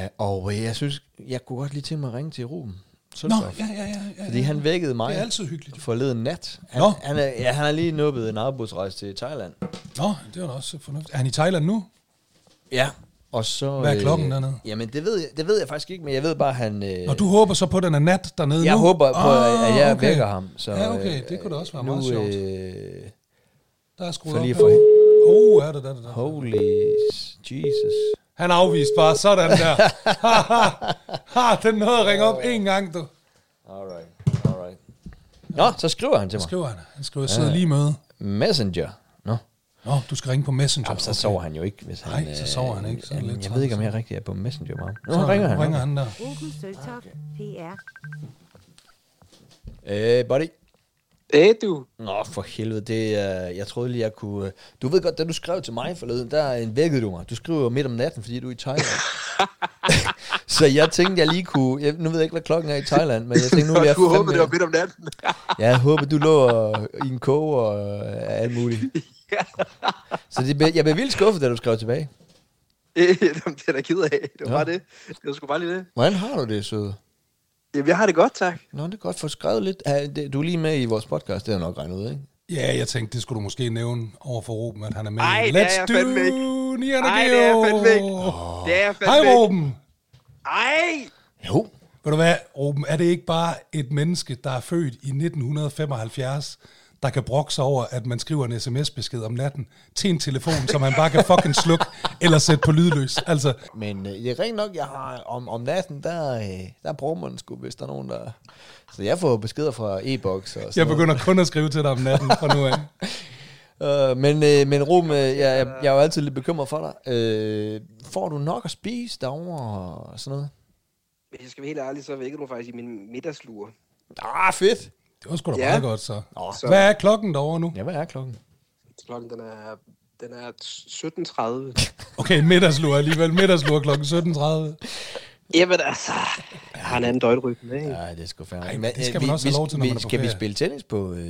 S2: Øh, og øh, jeg synes, jeg kunne godt lige tænke mig at ringe til Ruben.
S1: Nå, ja, ja, ja. ja, ja.
S2: Fordi han vækkede mig.
S1: Det er altid hyggeligt, jo.
S2: Forleden nat. Han,
S1: Nå.
S2: han, er, ja, han har lige nuppet en arbejdsrejse til Thailand.
S1: Nå, det var da også fornuftigt. Er han i Thailand nu?
S2: Ja. Og så, øh,
S1: Hvad er klokken dernede?
S2: Jamen, det ved, jeg, det ved jeg faktisk ikke, men jeg ved bare, at han... Øh,
S1: Og du håber så på, den er nat dernede
S2: jeg
S1: nu? Ah,
S2: håber på, at jeg
S1: okay.
S2: vækker ham. Så, øh,
S1: ja, okay. Det kunne da også være
S2: nu,
S1: meget sjovt.
S2: Øh,
S1: Der er skruet
S2: for lige
S1: op.
S2: at få...
S1: Oh, er det, der, der, der.
S2: Holy Jesus.
S1: Han afviste bare sådan der. Har den noget at ringe op en gang, du?
S2: Alright, alright. Nå, så skriver han til
S1: Så
S2: mig.
S1: skriver han. Han skriver, jeg sidder lige i møde.
S2: Messenger. Nå.
S1: Nå, du skal ringe på Messenger.
S2: Jamen, så
S1: Okay.
S2: sover han jo ikke, hvis han... øh,
S1: Nej, så sover han ikke. Så er det
S2: jamen,
S1: lidt
S2: jeg ved ikke, om
S1: træls.
S2: jeg rigtig er på Messenger meget. Nu
S1: Så
S2: ringer han.
S1: ringer han der.
S6: Open Søltoft PR.
S2: Øh, buddy.
S7: Hey du,
S2: Nå, for helvede, det er... jeg troede lige, jeg kunne... øh, Du ved godt, da du skrev til mig forleden, der øh, vækkede du mig. Du skriver jo midt om natten, fordi du er i Thailand. så jeg tænkte, jeg lige kunne... Jeg, nu ved jeg ikke, hvad klokken er i Thailand, men jeg tænkte, nu vil jeg...
S7: du håber,
S2: fandme-
S7: det var midt om natten.
S2: Jeg håber, du lå øh, i en koge og øh, alt muligt. Så det, blev- jeg blev vildt skuffet, da du skrev tilbage.
S7: Øh, Jamen, det er da ked af. Det
S2: Ja.
S7: var ja. bare det. Det var sgu bare lige det.
S2: Hvordan har du det, søde?
S7: Jamen, jeg har det godt, tak.
S2: Nå, det er godt få skrevet lidt. Ja, det- Du er lige med i vores podcast, det er nok regnet ud, ikke?
S1: Ja, jeg tænkte, det skulle du måske nævne over for Ruben, at han er med.
S7: Ej, det er
S1: Let's
S7: jeg
S1: do
S7: fandme ikke.
S1: Nian og
S7: Ej,
S1: Geo.
S7: det er jeg fandme ikke. Det er jeg fandme
S1: Hej,
S7: ikke.
S1: Ruben.
S7: Ej!
S2: Jo.
S1: Ved du hvad, Ruben, er det ikke bare et menneske, der er født i 1975, der kan brokke sig over, at man skriver en sms-besked om natten til en telefon, som man bare kan fucking slukke eller sætte på lydløs? Altså,
S2: Men øh, det er rent nok, jeg har om, om natten, der, øh, der bruger man sgu, hvis der er nogen, der... Så jeg får beskeder fra e-boks og sådan
S1: jeg begynder kun at skrive til dig om natten fra nu af.
S2: noget. Øh, men, øh, men Rum, øh, jeg, jeg, jeg er jo altid lidt bekymret for dig. Øh, får du nok at spise derovre og sådan noget?
S7: Hvis jeg skal være helt ærlig, så vækker du mig faktisk i min middagslure.
S2: Ah, fedt!
S1: Det var sgu da
S7: Ja.
S1: meget godt, så.
S2: Nå,
S7: Så-
S1: Hvad er klokken derovre nu?
S2: ja, hvad er klokken?
S7: Klokken, den er, den er 17.30.
S1: Okay, middagslur alligevel. Middagslur klokken 17.30.
S7: Jamen altså, jeg har en anden døgnrytme, ikke?
S2: Nej, det er sgu
S1: Ej,
S2: færdigt.
S1: men det skal man også have lov til, når man er på
S2: Skal vi
S1: ferie.
S2: spille tennis på... Øh,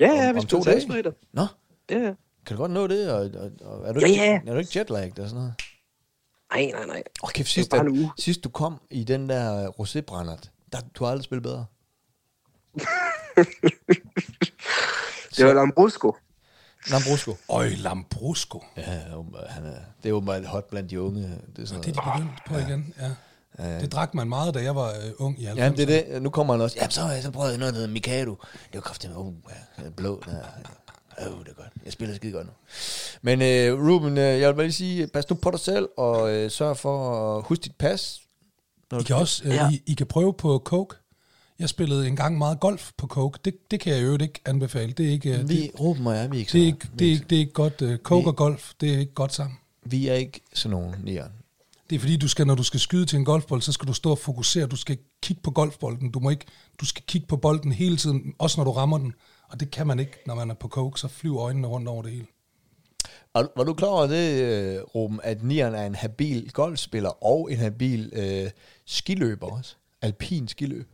S7: Ja, ja, vi
S2: om
S7: spiller
S2: to
S7: tennis
S2: dage?
S7: på fredag.
S2: Nå,
S7: Ja, ja.
S2: kan du godt nå det? Og, og, og er, du
S7: Ja,
S2: ikke,
S7: ja.
S2: er du ikke jetlagt og sådan noget?
S7: Nej, nej, nej.
S2: Åh, kæft, sidst,
S7: bare
S2: da-
S7: en uge.
S2: sidst du kom i den der rosébrændert, der, du har aldrig spillet bedre.
S7: Det var Lambrusco.
S2: Lambrusco.
S1: Øj, Lambrusco.
S2: Ja, åbenbart, han er, det er åbenbart hot blandt de unge. Det er sådan
S1: Det er de begyndt på igen, ja.
S4: Øh,
S1: Det drak man meget, da jeg var øh, ung i 90'erne.
S4: ja, det er det. Nu kommer han også. Ja, så, så prøvede jeg noget, der hedder Mikado. Det var kraftigt. Oh, ja, den blå. Der. Åh, oh, det er godt. Jeg spiller skide godt nu. Men øh, Ruben, øh, jeg vil bare lige sige, pas nu på dig selv, og øh, sørg for at huske dit pas. Når
S1: I
S4: du-
S1: kan også øh,
S4: Ja.
S1: ja. I, I kan prøve på coke. Jeg spillede engang meget golf på coke. Det, det kan jeg jo ikke anbefale. Det er ikke, øh, det,
S4: Vi,
S1: det,
S4: Ruben og jeg, vi er ikke
S1: er
S4: sådan
S1: ikke,
S4: nogle.
S1: det, er ikke, det er ikke godt. Øh, coke
S4: Vi-
S1: og golf, det er ikke godt sammen.
S4: Vi er ikke sådan nogen, Leon.
S1: Det er fordi, du skal, når du skal skyde til en golfbold, så skal du stå og fokusere. Du skal kigge på golfbolden. Du, må ikke, du skal kigge på bolden hele tiden, også når du rammer den. Og det kan man ikke, når man er på coke, så flyver øjnene rundt over det hele.
S4: Og var du klar over det, øh, Ruben, at Nian er en habil golfspiller og en habil øh, skiløber også? Alpin skiløb.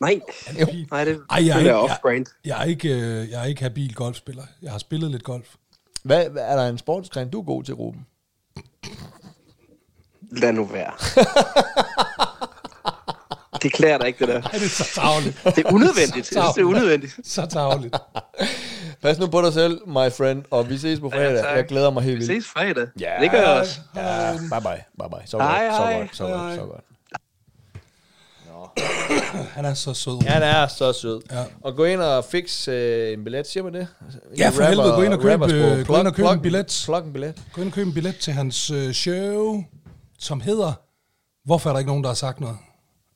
S7: Nej,
S4: Jo.
S7: nej, det,
S1: Ej, jeg er
S7: det er
S1: ikke-
S7: off-brand.
S1: Jeg er ikke, øh, jeg er ikke habil golfspiller. Jeg har spillet lidt golf.
S4: Hvad, hvad- er der en sportsgren, du er god til, Ruben?
S7: Lad nu være. det klæder dig ikke, det der.
S1: Er det så tavligt?
S7: Det er unødvendigt. Jeg synes, det er unødvendigt.
S1: Så tavligt.
S4: Pas nu på dig selv, my friend, og vi ses på fredag.
S7: tak.
S4: jeg glæder mig helt
S7: Vi
S4: vildt.
S7: ses fredag.
S4: Ja.
S7: Det gør jeg også.
S4: Ja, bye bye, bye bye. Så
S7: Hej,
S4: godt, så
S7: hej.
S4: godt, så godt, så godt.
S1: Han er så sød.
S4: Han er så sød.
S1: Ja.
S4: Og gå ind og fix øh, en billet, siger man det?
S1: Ja, for
S4: Rapper-
S1: helvede, gå ind og køb,
S4: rappersprog.
S1: øh, gå ind og køb en billet.
S4: Plug en billet.
S1: Gå ind og køb en billet til hans øh, show, som hedder Hvorfor er der ikke nogen, der har sagt noget?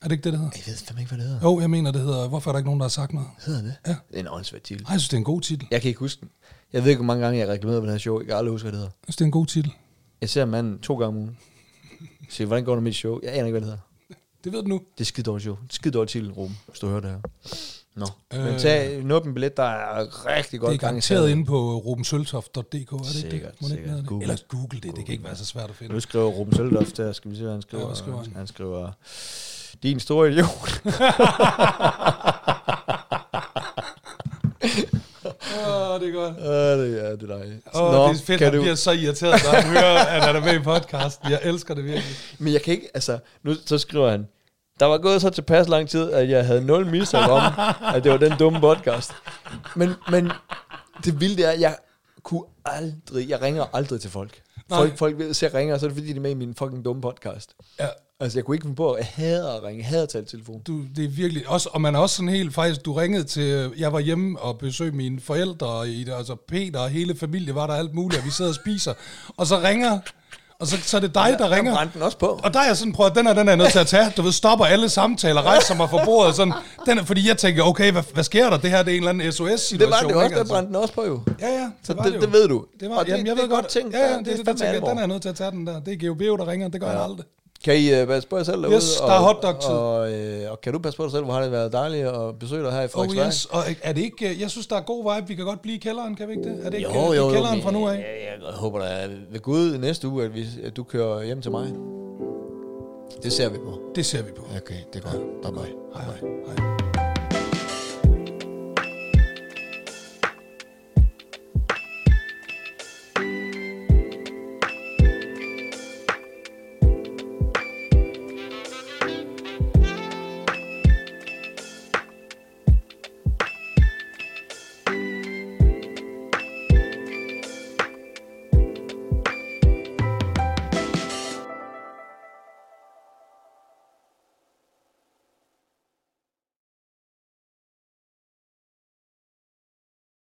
S1: Er det ikke det, det hedder?
S4: Jeg ved fandme ikke, hvad det hedder.
S1: Jo, jeg mener, det hedder Hvorfor er der ikke nogen, der har sagt noget?
S4: hedder det?
S1: Ja.
S4: Det er en åndssvagt titel.
S1: Ej, jeg synes, det er en god titel.
S4: Jeg kan ikke huske den. Jeg ved ikke, hvor mange gange jeg har reklameret på den her show. Jeg kan aldrig huske, hvad det hedder.
S1: Jeg synes, det er en god titel.
S4: Jeg ser manden to gange om ugen. Jeg siger, hvordan går det med dit show? Jeg aner ikke, hvad det hedder.
S1: Det ved du nu.
S4: Det er skide dårligt show. Det er skide dårligt titel, Ruben, hvis du hører det her. Nå. Øh, Men
S1: Øh.
S4: tag, nup en billet, der er rigtig godt
S1: det er
S4: gang i
S1: garanteret
S4: sagen.
S1: inde på rubensøltoft.dk, er det ikke
S4: Sikkert,
S1: det? Må det
S4: sikkert.
S1: ikke være det?
S4: Google.
S1: Eller Google det, det kan ikke være så svært at finde.
S4: Nu skriver Ruben Søltoft der, skal vi se, hvad han skriver.
S1: Ja, hvad skriver han?
S4: han skriver, din store idiot.
S1: Åh, det er godt.
S4: ja, det er, det er dejligt.
S1: Åh, det er fedt,
S4: kan
S1: han
S4: du,
S1: bliver så irriteret, når han hører, at han er med i podcasten. Jeg elsker det virkelig.
S4: Men jeg kan ikke, altså, nu så skriver han, der var gået så tilpas lang tid, at jeg havde nul mistanke om, at det var den dumme podcast. Men, men det vilde er, at jeg kunne aldrig, jeg ringer aldrig til folk.
S1: Nej.
S4: Folk, folk ved, så jeg ringer, og så er det fordi, de er med i min fucking dumme podcast.
S1: Ja,
S4: Altså, jeg kunne ikke finde på, at jeg hader at ringe, jeg hader at tale i telefon.
S1: du, det er virkelig, også, og man er også sådan helt, faktisk, du ringede til, jeg var hjemme og besøgte mine forældre, og i- altså Peter og hele familien var der alt muligt, og vi sidder og spiser, og så ringer, og så, så er det dig, der ringer.
S4: Jeg brændte den også på.
S1: Og der er jeg sådan, prøv at den her, den er jeg nødt til at tage. Du ved, stopper alle samtaler, rejser mig fra bordet. Sådan. Den er, fordi jeg tænker, okay, hvad, hvad sker der? Det her det er en eller anden SOS-situation.
S4: Det var det også,
S1: ikke? altså?
S4: der brændte den også på jo.
S1: Ja, ja.
S4: Så
S1: var
S4: det,
S1: jo.
S4: det, ved du.
S1: Det var,
S4: Og
S1: jamen, jeg
S4: det
S1: ved
S4: er godt
S1: godt.
S4: tænkt.
S1: ja, ja, det, er det, der
S4: fandme
S1: tænker, jeg,
S4: alvor.
S1: den er jeg nødt til at tage den der. Det er GOB, der ringer. Det gør ja. han aldrig.
S4: Kan I øh, passe på jer selv derude?
S1: Yes, der er
S4: og-
S1: hotdog-tid.
S4: Og, øh, og kan du passe på dig selv? Hvor har det været dejligt at besøge dig her i
S1: Oh
S4: Frederiksberg?
S1: yes, og er det ikke, øh, jeg synes, der er god vibe, vi kan godt blive i kælderen, kan vi ikke det? Er det ikke
S4: Jo,
S1: øh, i
S4: jo, jo.
S1: kælderen
S4: men
S1: fra nu af?
S4: Jeg, jeg, jeg håber da ved Gud næste uge, at, vi, at du kører hjem til
S1: Mm.
S4: mig. Det ser vi på.
S1: Det ser vi på.
S4: Okay, det er godt. Bye bye.
S1: Hej, hej.